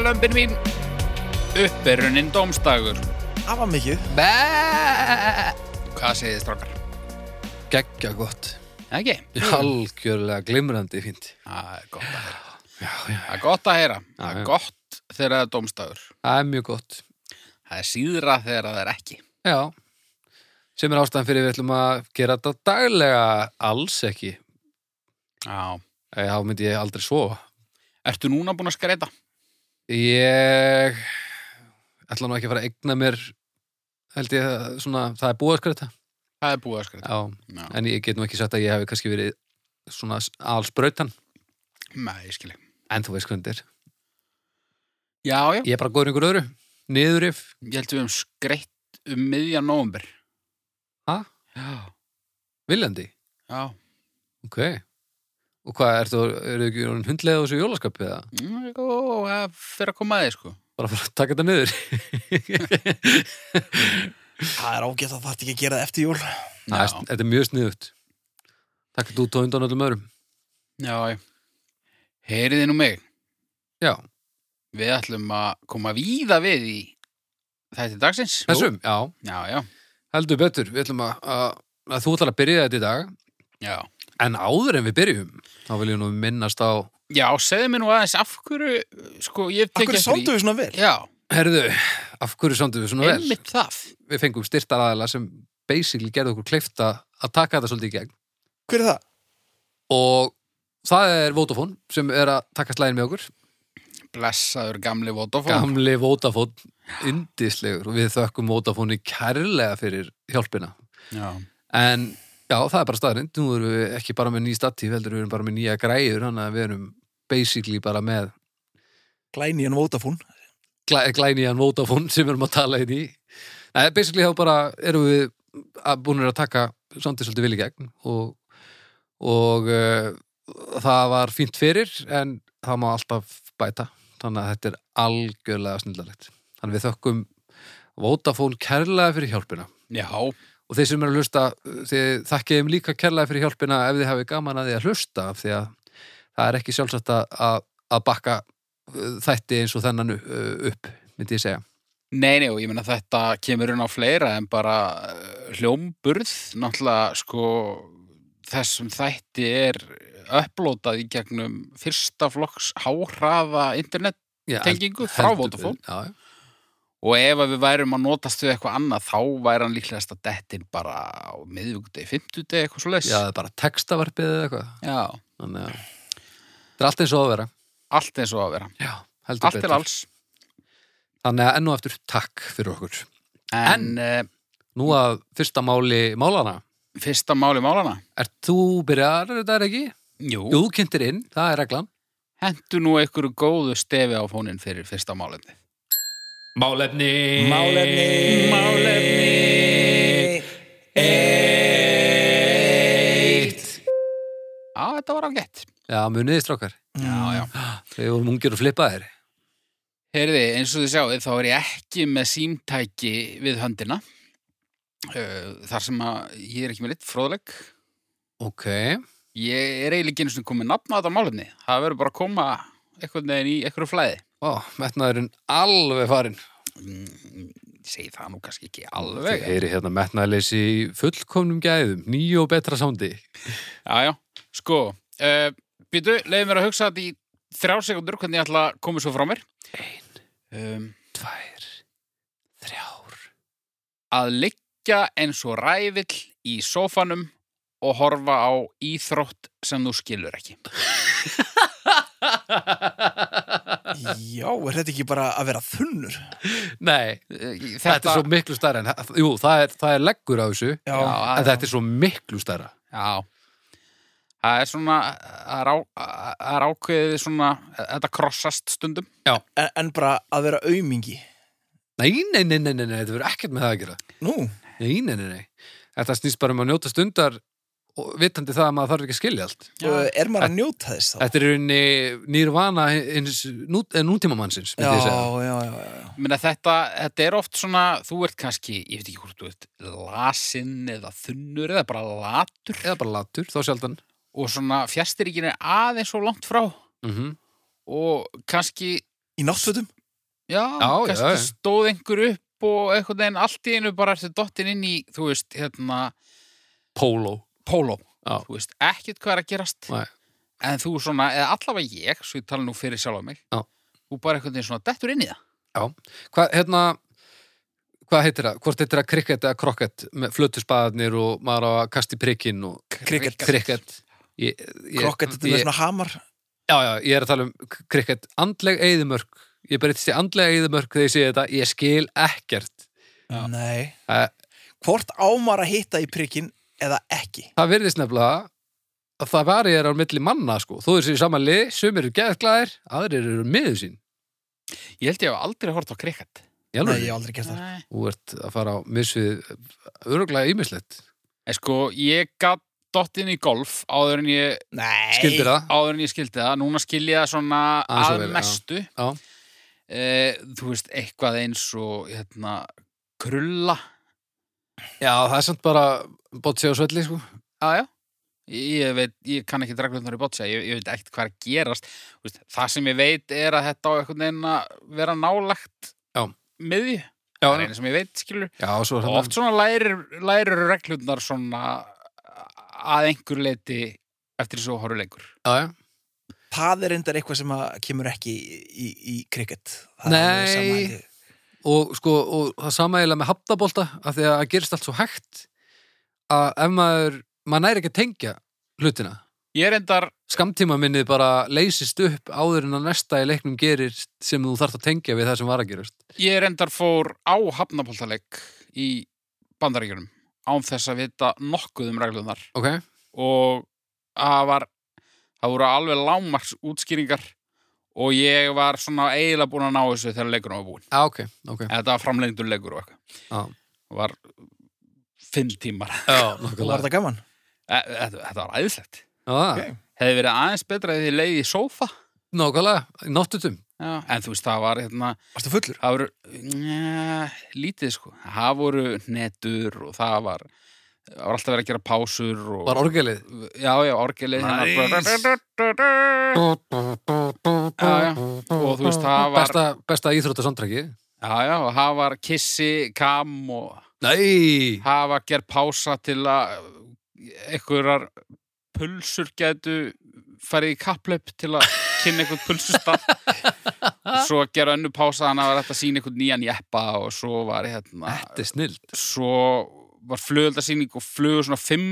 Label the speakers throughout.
Speaker 1: lömbin mín Uppbyrjunin dómstagur
Speaker 2: Það var mikið.
Speaker 1: Bæ Hvað segið þið strákar?
Speaker 3: Geggja gott.
Speaker 1: Það ekki?
Speaker 3: Algjörlega glimrandi fínt.
Speaker 1: Það er gott að heyra
Speaker 3: Já, já.
Speaker 1: Það er gott að heyra Það
Speaker 3: Já,
Speaker 1: er
Speaker 3: já.
Speaker 1: gott þegar það er dómstagur
Speaker 3: Það er mjög gott.
Speaker 1: Það er síðra þegar það er ekki
Speaker 3: Já. Sem er ástæðan fyrir við ætlum að gera þetta daglega alls ekki.
Speaker 1: Já
Speaker 3: Eh, Þá myndi ég aldrei sofa.
Speaker 1: Ertu núna búin að skreita?
Speaker 3: Ég ætla nú ekki að fara að egna mér held ég að svona, það er búið að skræta
Speaker 1: Það er búið að skreita
Speaker 3: Já,
Speaker 1: Já.
Speaker 3: en ég get nú ekki sagt að ég hefði kannski verið svona allsbrautan
Speaker 1: Nei, ég skil ekki
Speaker 3: en þú veist hvernig þetta er.
Speaker 1: Já, já
Speaker 3: Ég er bara góður yngur öðru, niðurif
Speaker 1: Ég held við um skreitt um miðja nóvember
Speaker 3: Ha?
Speaker 1: Já
Speaker 3: viljandi,
Speaker 1: Já
Speaker 3: ok og hvað, ertu, eru ekki orðin hundlega á þessu jólaskapi eða?
Speaker 1: Mm, Jó, það fyrir að koma að þið sko
Speaker 3: Bara að fara að taka þetta niður
Speaker 2: Það er ágætt að það ekki að gera það eftir jól.
Speaker 3: Það er-
Speaker 1: Já.
Speaker 3: Þetta er mjög sniðut Takk að þú tóðundan öllum öðrum
Speaker 1: Já, já Heyriði nú mig
Speaker 3: Já,
Speaker 1: Við ætlum að koma víða við í þætti dagsins.
Speaker 3: þessum, já,
Speaker 1: Já, já,
Speaker 3: heldur betur Við ætlum að, að, að þú ætlar að byrja þetta í dag
Speaker 1: já.
Speaker 3: En áður en við byrjum, þá viljum nú minnast á,
Speaker 1: Já, segðu mér nú aðeins af hverju, sko, ég tek
Speaker 2: Akkur sándu við svona vel?
Speaker 1: Já,
Speaker 3: herðu, af hverju samtum við svona vel?
Speaker 1: einmitt það.
Speaker 3: Við fengum styrtar aðeila sem basically gerði okkur kleifta að taka þetta svolítið í gegn.
Speaker 2: Hver er það?
Speaker 3: Og það er Vodafone sem er að taka slæðin með okkur.
Speaker 1: Blessaður gamli Vodafone.
Speaker 3: Gamli Vodafone, indislegur og við þökkum Vodafone kærlega fyrir hjálpina.
Speaker 1: Já,
Speaker 3: En já, það er bara staðrind. Nú erum við ekki bara með ný statíf, heldur við erum bara með nýja græjur, þannig að við erum basically bara með
Speaker 2: Glæni en Vodafone.
Speaker 3: glæ, glænían Vodafone sem við erum að tala hérna í. Nei, basically þá bara erum við að- búnir að taka samtid svolítið vil í gegn og, og uh, það var fínt fyrir en það má alltaf bæta þannig að þetta er algjörlega snillalegt. Þannig við þökkum Vodafone kærlega fyrir hjálpina
Speaker 1: já,
Speaker 3: og þeir sem eru að hlusta þið þakkið þeim líka kærlega fyrir hjálpina ef þið hafið gaman að þið að hlusta af því að það er ekki sjálfsagt að- að, að bakka uh, þætti eins og þennan uh, upp myndi ég segja.
Speaker 1: nei, nei, og ég meina þetta kemur inn á fleira en bara eh, hljómburð, náttúrulega, sko, þessum þætti er upplótað í gegnum fyrsta flokks háhraða internet
Speaker 3: Já,
Speaker 1: Tengingu
Speaker 3: held-
Speaker 1: frá
Speaker 3: heldur-
Speaker 1: Vodafone.
Speaker 3: Já, já.
Speaker 1: og ef að við værum að notast við eitthvað annað þá væri hann líklegast að dettin bara á miðvíkudegi, fimmtudegi, eitthvað svo leys
Speaker 3: já, það er bara textavarpið eða eitthvað
Speaker 1: Já,
Speaker 3: þannig að þetta er allt eins og að vera
Speaker 1: allt eins og að vera
Speaker 3: já, heldur
Speaker 1: allt til alls
Speaker 3: þannig að enn og aftur takk fyrir okkur
Speaker 1: en, eh, en
Speaker 3: nú að fyrsta máli málana
Speaker 1: fyrsta máli málana
Speaker 3: er þú byrjar þetta er ekki?
Speaker 1: Jú,
Speaker 3: Jú, kynntir inn, það er reglan
Speaker 1: hentu nú einhverju góðu stefi á fónin fyrir fyrsta málefni
Speaker 3: Málefni
Speaker 2: Málefni. Málefni.
Speaker 1: Já, þetta var ágætt
Speaker 3: Já, muniði strákar
Speaker 2: Mm,
Speaker 1: Já, já
Speaker 3: Þegar vorum ungir og flippaðir
Speaker 1: Heyrði, eins og þið sjáu, þá er ég ekki með símtæki við höndina Uh, þar sem að ég er ekki með litt fróðleg
Speaker 3: Ok,
Speaker 1: ég er eiginlega ekki einu svona komið nafn á þetta málefni það verður bara að koma einhvern veginn í einhverju flæði
Speaker 3: ó, metnaðurinn alveg farinn
Speaker 1: Mm, ég segi það nú kannski ekki alveg
Speaker 3: Þið heyri hérna metnaðleysi í fullkomnum gæðum Nýju og betra sándi
Speaker 1: já, já, sko uh, býtu, leiði mér að hugsa þetta í þrjá sekundur hvernig ég ætla að koma svo frá mér um,
Speaker 3: Tvær Þrjár
Speaker 1: að liggja eins og rævill í sófanum og horfa á íþrótt sem þú skilur ekki
Speaker 2: Já, er þetta ekki bara að vera þunnur?
Speaker 3: Nei,
Speaker 1: Eh, þetta,
Speaker 3: þetta, er svo miklu stærra en, Jú, það er, það er leggur á þessu
Speaker 2: Já.
Speaker 1: Já.
Speaker 3: En þetta er svo miklu stærra
Speaker 1: já það er svona það er á- það er ákveðið svona þetta krossast stundum
Speaker 2: En, en bara að vera aumingi.
Speaker 3: Nei, nei, nei, nei, nei, nei, þetta verður ekkert með það að gera
Speaker 2: Nú,
Speaker 3: Nei, nei, nei, nei Þetta snýst bara um að njóta stundar og vitandi það að maður þarf ekki að skilja allt
Speaker 1: Já.
Speaker 2: og er maður að njóta þess þá?
Speaker 3: Þetta er í rauninni nýrvana hins nú, nútíma mannsins
Speaker 2: Já,
Speaker 3: myndi ég segja.
Speaker 2: já, já, já.
Speaker 1: Meina, þetta, þetta er oft svona, þú ert kannski, ég veit ekki hvort þú ert lasinn eða þunnur eða bara latur
Speaker 3: Eða bara latur, þá sjaldan
Speaker 1: og svona fjastir er aðeins svo langt frá
Speaker 3: mm
Speaker 1: og kannski,
Speaker 2: Í náttfötum?
Speaker 1: Já,
Speaker 3: Já,
Speaker 1: kannski
Speaker 3: já, já.
Speaker 1: stóð einhver upp og einhvern veginn allt í einu bara ertu dottinn inn í, þú veist, hérna,
Speaker 3: Polo.
Speaker 1: póló.
Speaker 3: Já.
Speaker 1: Þú veist, ekkert hvað er að gerast.
Speaker 3: Nei.
Speaker 1: En þú svona, eða allavega ég, svo ég tala nú fyrir sjálf mig,
Speaker 3: Já.
Speaker 1: þú bara einhvern veginn svona dettur inn í það.
Speaker 3: Hvað, hérna, hvað heitir það? Hvort heitir það krikket eða krokket með flötuspaðarnir og maður á að kasta í prikinn og
Speaker 2: Cricket.
Speaker 3: krikket. Ég- ég-
Speaker 2: Krokket, þetta er
Speaker 3: ég-
Speaker 2: með svona hamar
Speaker 3: Já, já, ég er að tala um k- krikket. Andleg eyðumörk. Ég breytist í andleg eyðumörk þegar ég sé þetta. Ég skil ekkert.
Speaker 1: Já.
Speaker 2: Nei
Speaker 3: Það,
Speaker 2: Hvort ámar að hitta í prikkin eða ekki
Speaker 3: það virðist nefnilega að það var ég er á milli manna, sko. Þú er sér saman lið, sumir eru geðglæðir, aðrir eru miður sín.
Speaker 1: Ég held ég hef aldrei hort á krikett.
Speaker 3: Í alvöru.
Speaker 2: Nei, ég hef aldrei gert það
Speaker 1: En
Speaker 3: Þú ert að fara á missvið öruglega ímislegt.
Speaker 1: sko, ég gat dottinn í golf áður en ég
Speaker 2: Nei
Speaker 3: Skildir það?
Speaker 1: áður en ég skildi það, núna skilja það svona
Speaker 3: Aðeins og
Speaker 1: að
Speaker 3: vel, já.
Speaker 1: mestu
Speaker 3: Já.
Speaker 1: Eh, þú veist, eitthvað eins og hérna, krulla
Speaker 3: Já, það er samt bara bótsi á svelli, sko.
Speaker 1: já, já. Ég, ég veit, ég kann ekki draglutnar í botsa ég, ég veit ekkert hvað er að gerast Þú veist, það sem ég veit er að þetta á einhvern veginn að vera nálagt
Speaker 3: Já.
Speaker 1: miðju,
Speaker 3: Já,
Speaker 1: það er einu sem ég veit skilur,
Speaker 3: já svo
Speaker 1: og
Speaker 3: er þarna-
Speaker 1: oft svona lærir, lærir reglutnar svona að einhver leiti eftir þessu horfur lengur
Speaker 3: Já, já.
Speaker 2: Það er endar eitthvað sem að kemur ekki í, í, í krikket
Speaker 3: Nei. og sko, og það samægilega með haftabólta af því að það gerist allt svo hægt að ef maður, maður næri ekki að tengja hlutina,
Speaker 1: ég er endar
Speaker 3: skamtíma minnið bara leysist upp áður en að næsta í leiknum gerir sem þú þarft að tengja við það sem var að gerast
Speaker 1: Ég reyndar fór á hafnapoltaleik í bandaríkjunum án þess að vita nokkuð um reglunar
Speaker 3: ok,
Speaker 1: og það var það voru alveg lámars útskýringar og ég var svona eiginlega búin að ná þessu þegar leikurinn var búin
Speaker 3: já ok, ok
Speaker 1: eða þetta var framlengdur leikur og eitthvað
Speaker 3: Já.
Speaker 1: Það var fimm tímar
Speaker 2: Þú
Speaker 3: já,
Speaker 2: var
Speaker 3: nokkulega já,
Speaker 2: þetta gaman?
Speaker 1: E- þetta, þetta var æðislegt
Speaker 3: okay.
Speaker 2: Ok.
Speaker 1: hefði verið aðeins betra ef þið leiði í sófa
Speaker 3: nokkulega, í náttutum
Speaker 1: Já. en þú veist það var hérna
Speaker 2: Varstu fullur?
Speaker 1: það voru njá, lítið sko, það voru netur og það var það var alltaf verið að gera pásur og,
Speaker 3: var orgelið
Speaker 1: já, já, orgelið hérna,
Speaker 3: Nice.
Speaker 1: já, já, og þú veist, það var
Speaker 3: besta, besta íþrótta sondræki
Speaker 1: já, já, og það var kissi, kam og
Speaker 3: nei,
Speaker 1: það var gerð pása til að einhverjar pulsur gætu farið í kapplöp til að kynna einhvern pulsustaf svo gera önnu pása þannig að það var þetta að sína einhvern nýjan jeppa og svo var hérna
Speaker 3: þetta er snild
Speaker 1: svo var flugöldarsýning og flugur svona fimm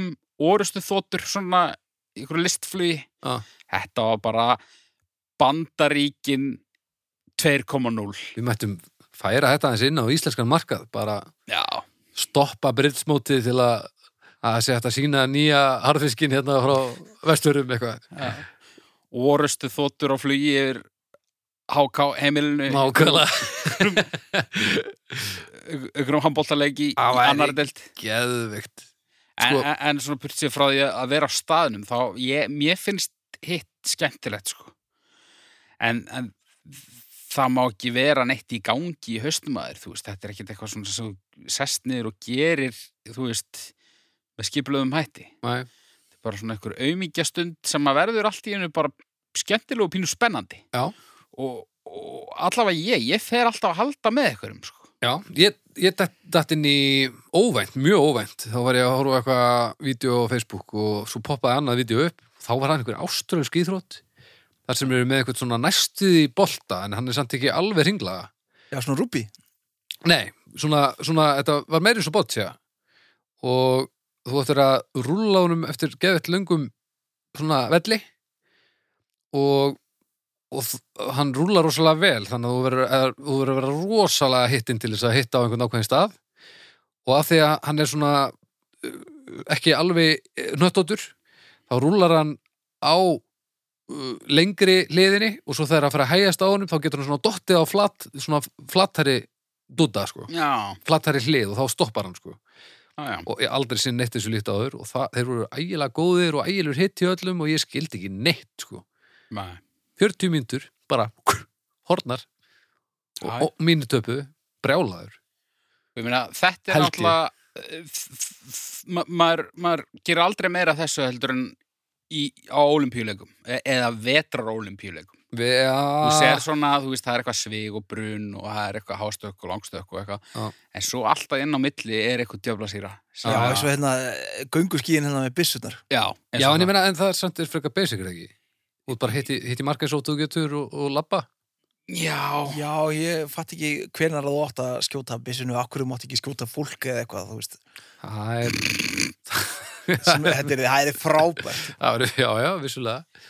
Speaker 1: orustu þóttur svona í einhverju listflugi
Speaker 3: Já.
Speaker 1: þetta var bara bandaríkin 2.0
Speaker 3: við mættum færa þetta aðeins inn á íslenskan markað bara
Speaker 1: já,
Speaker 3: stoppa brildsmótið til að að sé hægt að sína nýja harðfiskin hérna frá vesturum eitthvað
Speaker 1: orustu þóttur á flugi yfir HK heimilinu
Speaker 3: nákvæmlega
Speaker 1: ykkurum handbóltalegi um í
Speaker 3: Það væri-
Speaker 1: annar delt
Speaker 3: geðvikt
Speaker 1: en,
Speaker 3: Sko-
Speaker 1: en, en svona burt sér frá því að vera á staðnum þá ég, mér finnst hitt skemmtilegt sko en, en það má ekki vera neitt í gangi í haustum aður, þú veist, þetta er ekkert eitthvað svona sem þú sest niður og gerir þú veist, með skipluðum hætti
Speaker 3: Nei.
Speaker 1: þetta er bara svona einhver aumingjastund sem að verður allt í einu bara skemmtileg og pínu spennandi
Speaker 3: Já.
Speaker 1: og, og allavega ég, ég fer alltaf að halda með einhverjum sko
Speaker 3: já, ég, ég datt, datt inn í óvænt, mjög óvænt þá var ég að horfa á eitthvað vídeo á Facebook og svo poppaði annað vídeo upp þá var hann einhver áströlsk íþrótt þar sem eru með eitthvað svona næstuð í bolta en hann er samt ekki alveg ringlaða
Speaker 2: Já, svona rúbi
Speaker 3: Nei, svona, svona þetta var meiri svo bótt, sér og þú ættir að rúlla honum eftir geðvett löngum svona velli og, og þ- hann rúlla rosalega vel þannig að þú verður að- þú verður að vera rosalega hittinn til þess að hitta á einhvern ákveðin stað og af því að hann er svona uh, ekki alveg eh, nöttóttur þá rúllar hann á uh, lengri hliðinni og svo þegar að fara að hægjast á honum þá getur hann svona dottið á flat, svona flattari dúdda sko,
Speaker 1: já,
Speaker 3: flattari hlið og þá stoppar hann sko
Speaker 1: já, já
Speaker 3: og ég aldrei sinn neitt þessu líkt áður og það, þeir voru ægilega góðir og ægilegur hitt í öllum og ég skildi ekki neitt sko
Speaker 1: Nei.
Speaker 3: 40 mínútur, bara hornar
Speaker 1: Æ.
Speaker 3: og, og mínutöpu brjálaður
Speaker 1: Ég meina, þetta er
Speaker 3: Held ég.
Speaker 1: náttúrulega eh, f- f- f- ma- maður maður gerir aldrei meira af þessu heldur en í, á olimpíuleikum e- eða vetrar olimpíuleikum
Speaker 3: Við,
Speaker 1: þú
Speaker 3: já,
Speaker 1: sér svona, þú veist, það er eitthvað svig og brun og það er eitthvað hástökk og langstökk og
Speaker 3: Já.
Speaker 1: eitthvað, en svo alltaf inn á milli er eitthvað djöfla síra
Speaker 2: Já,
Speaker 3: Ah.
Speaker 2: eins og hérna, gönguskíin hérna með byssunar.
Speaker 1: já,
Speaker 3: já en ég meina, en það er samt er frekar basic, er það ekki? Þú ert bara hitti, hitti marka eins og þú getur og, og labba.
Speaker 1: já,
Speaker 2: Já, ég fatt ekki hvernar þú átt að skjóta byssunu, akkur þú mátt ekki skjóta fólk eða eitthvað, þú veist.
Speaker 3: Það er,
Speaker 2: Sem, þetta er, það er frábært.
Speaker 3: það er, já, já, vissulega.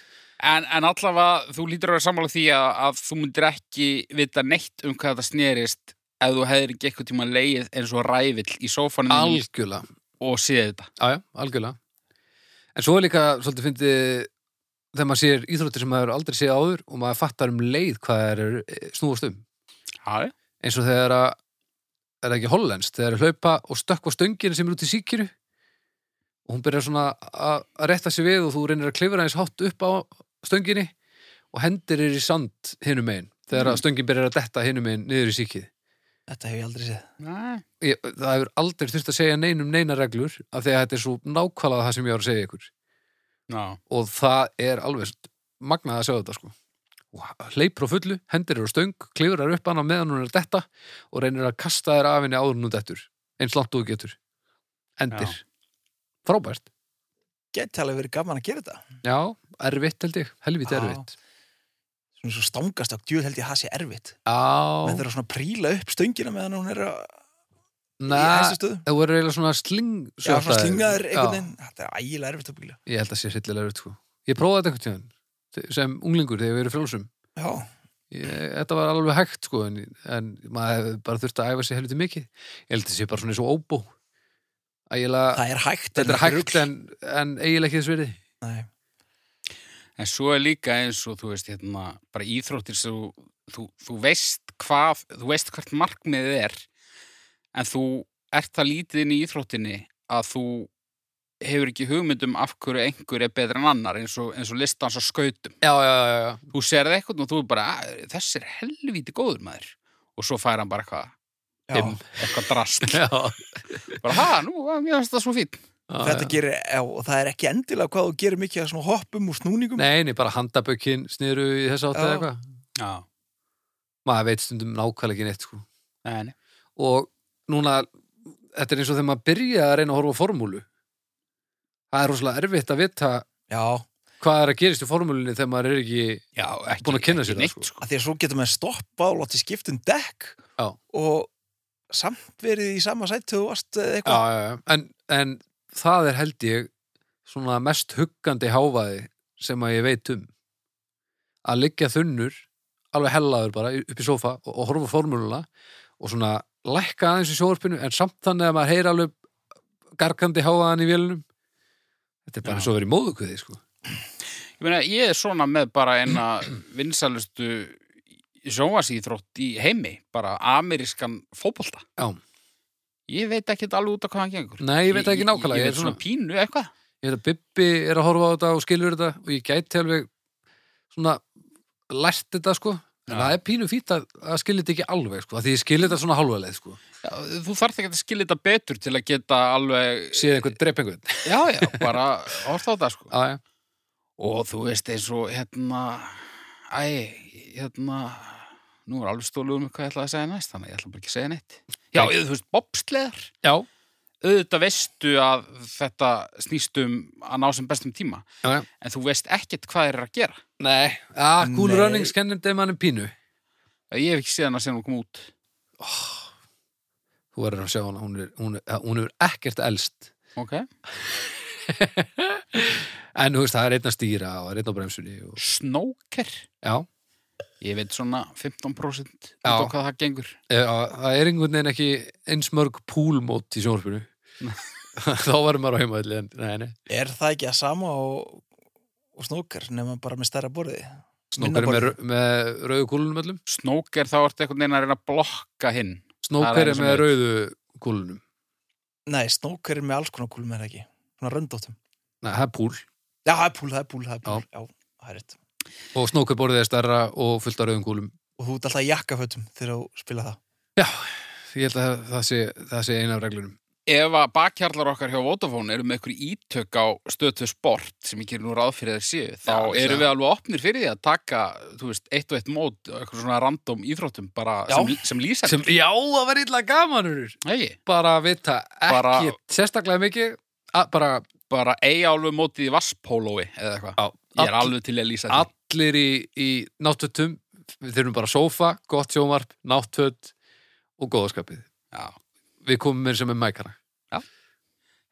Speaker 1: en, en allavega þú lítur að vera sammála því að, að þú myndir ekki vita neitt um hvað þetta snerist ef þú hefðir ekki eitthvað tíma leið eins og rævill í sófanum þínum
Speaker 3: Algjörlega.
Speaker 1: og séð þetta
Speaker 3: Já, já, algjörlega. En svo er líka, svolítið fyndið, þegar maður sér íþróttir sem maður aldrei séð áður og maður fattar um leið hvað það er snúast um.
Speaker 1: já, já.
Speaker 3: Eins og þegar að, er það ekki hollenskt, þegar að hlaupa og stökkva stöngina sem er út í síkiru og hún byrjar svona að að rétta sig við og þú reynir að klifra eins hátt upp á stönginni og hendir er í sand hinum megin þegar að
Speaker 1: Mm.
Speaker 3: stöngin byrjar að detta hinum megin niður í síkið.
Speaker 2: Þetta hef ég aldrei séð.
Speaker 1: Nei.
Speaker 3: Ég, það hefur aldrei þurft að segja neinum neina reglur af því að þetta er svo nákvæmlega það sem ég var að segja ykkur.
Speaker 1: já,
Speaker 3: og það er alveg magnað að sjá þetta sko og hleypur á fullu, hendir eru á stöng klifrar upp hana meðan hún er að detta og reynir að kasta þér af henni áður en hún dettur eins langt og þú getur endir,
Speaker 1: Já.
Speaker 3: frábært
Speaker 2: Geti alveg verið gaman að gera þetta.
Speaker 3: já, erfitt held ég, helviti
Speaker 2: Já.
Speaker 3: erfitt
Speaker 2: Svona svo stangast á djúð held ég að það sé erfitt. Menn
Speaker 3: já,
Speaker 2: þarf að svona príla upp stöngina meðan hún er að, í
Speaker 3: na,
Speaker 2: hæstu stöðu.
Speaker 3: það voru eiginlega svona sling
Speaker 2: Já, svona
Speaker 3: sjottaðir.
Speaker 2: slingaður einhvern
Speaker 3: Já,
Speaker 2: veginn. Þetta er ægilega erfitt að byggja.
Speaker 3: ég held að sé hryllilega erfitt sko ég prófaði þetta einhvern tíðan sem unglingur þegar við erum frjálsum
Speaker 2: Já,
Speaker 3: Ég, þetta var alveg hægt sko en, en maður hefði bara þurft að æfa sig helviti mikið ég held að þetta sé bara svona eins og óbó ægilega,
Speaker 2: það er hægt. en
Speaker 3: þetta er
Speaker 2: ekki
Speaker 3: hægt
Speaker 2: rugl.
Speaker 3: en, en eiginlega ekki þess verið
Speaker 2: Nei.
Speaker 1: En svo er líka eins og þú veist hérna, bara íþróttir sem þú, þú, þú veist hvað, þú veist hvert markmiðið er en þú ert það lítið inn í íþróttinni að þú hefur ekki hugmyndum af hverju einhver er betra en annar eins og, eins og listans á skautum.
Speaker 3: já, já, já, já,
Speaker 1: Þú serði eitthvað og þú er bara, "Ah, þessi er helvíti góður maður og svo fær hann bara eitthvað,
Speaker 2: Já.
Speaker 1: dimm, eitthvað drast.
Speaker 3: já.
Speaker 1: bara, ha, nú, mér finnst það svo fín.
Speaker 2: Þetta gerir, já, og það er ekki endilega hvað þú gerir mikið að svona hoppum og snúningum.
Speaker 3: nei, nei, bara handabökin sniru í þess átt eða
Speaker 2: Já.
Speaker 3: eitthvað
Speaker 1: Já,
Speaker 3: maður veit stundum nákvæmlega ekki neitt sko.
Speaker 1: en,
Speaker 3: og núna þetta er eins og þegar maður byrja að reyna að horfa á formúlu það er rosalega erfitt að vita
Speaker 2: Já, að
Speaker 3: hvað er að gerist í formúlunni þegar maður er ekki
Speaker 1: já ekki,
Speaker 3: Búin að kynna
Speaker 1: ekki
Speaker 3: sér það,
Speaker 1: neitt,
Speaker 3: sko.
Speaker 1: sko.
Speaker 2: því að svo getur maður stoppa og látið skipta um dekk
Speaker 3: Já.
Speaker 2: og samt verið í sama sæti og varst eða eitthvað.
Speaker 3: já, já, já. En, en það er held ég svona mest huggandi hávaði sem að ég veit um að liggja þunnur alveg hellaður bara upp í sófa og, og horfa á formúluna og svona lækka aðeins í sjóvarpinu en samt þannig að maður heyra alveg gargandi hávaðan í vélunum þetta
Speaker 1: Já.
Speaker 3: er bara eins og verið móðukuði sko.
Speaker 1: Ég meina, ég er svona með bara eina vinsalustu sjónvasíþrótt í heimi, bara amerískan fótbolta.
Speaker 3: Já.
Speaker 1: Ég veit ekki alveg út af hvað hann gengur.
Speaker 3: nei, ég veit það ekki nákvæmlega
Speaker 1: Ég, ég, ég
Speaker 3: ég, er
Speaker 1: veit svona
Speaker 3: svona,
Speaker 1: pínu eitthvað.
Speaker 3: ég veit að Bibbi er að horfa á þetta og skilur þetta og ég gæti alveg svona lært þetta sko en
Speaker 1: Já.
Speaker 3: það er pínu fýtt að, að skilja þetta ekki alveg sko, af því ég skilja þetta svona halvaðleið sko
Speaker 1: Já, þú þarft ekki að skilja þetta betur til að geta alveg...
Speaker 3: séð einhvern dreip einhvern Ah,
Speaker 1: Já, já, bara orða á þetta, sko.
Speaker 3: já, já.
Speaker 1: Og þú veist eins og, hérna, æ, hérna... Nú er alveg stólu um hvað ég ætlaði að segja næst, þannig að ég ætla bara ekki að segja neitt. Já, þú veist, bobsleðar.
Speaker 3: já,
Speaker 1: auðvitað veistu að þetta snýst um að ná sem bestum tíma
Speaker 3: Ah, já, já.
Speaker 1: en þú veist ekkert hvað þeir eru að gera
Speaker 3: nei, ah, cool
Speaker 2: Nei.
Speaker 3: runnings kennum þeim mannum pínu
Speaker 1: ég hef ekki séð hana sem hún kom út
Speaker 3: þú verður að sjá hana, hún er, hún, er, hún er ekkert elst
Speaker 1: ok,
Speaker 3: en þú veist, það er einn að stýra og það er einn á bremsunni og...
Speaker 1: snóker
Speaker 3: já,
Speaker 1: ég veit svona 15% út
Speaker 3: Já.
Speaker 1: á hvað það gengur
Speaker 3: eh, á- það er einhvern veginn ekki eins mörg púlmót í sjónvarpinu þá verður maður á heimaðli en, nei, nei,
Speaker 2: Er það ekki að sama og, og snókar nema bara með stærra borði?
Speaker 3: snókar er með, rau- með rauðu kúlunum öllum
Speaker 1: snóker þá ertu einhvern veginn að reyna að blokka hinn Það er
Speaker 3: snókar
Speaker 1: eins
Speaker 3: er
Speaker 1: og mitt.
Speaker 3: með rauðu kúlunum
Speaker 2: Nei, snókar er með alls konar kúlum er það ekki. Svona röndóttum.
Speaker 3: nei, það er púl
Speaker 2: Já, það er púl, það er púl, það er púl. Já, það er rétt.
Speaker 3: og snókarborðið er stærra og fullt af rauðum kúlum
Speaker 2: Og þú ert alltaf í jakkafötum þegar þú spila það.
Speaker 3: ég held að það- það sé, það sé eina af reglunum
Speaker 1: ef að bakhjarlar okkar hjá Vodafone eru með ykkur ítök á stötu sport sem ég gerir nú ráð fyrir þeir séu, þá
Speaker 3: Já,
Speaker 1: eru
Speaker 3: vissulega.
Speaker 1: við alveg opnir fyrir því að taka, þú veist, eitt og eitt mót og eitthvað svona random íþróttum bara
Speaker 2: Já.
Speaker 1: sem, sem lýsa
Speaker 3: sem, já, það var illa gamanur
Speaker 1: Nei,
Speaker 3: bara vita ekki
Speaker 1: Bara-
Speaker 3: sérstaklega mikið að, bara
Speaker 1: bara eiga alveg mótið í vasspólói eða eitthvað.
Speaker 3: á,
Speaker 1: Ég er alveg til í að lýsa því.
Speaker 3: allir í, í náttutum við þurfum bara sófa, gott sjómarp náttut og góðaskapið
Speaker 1: Já.
Speaker 3: við komum með sem er mækara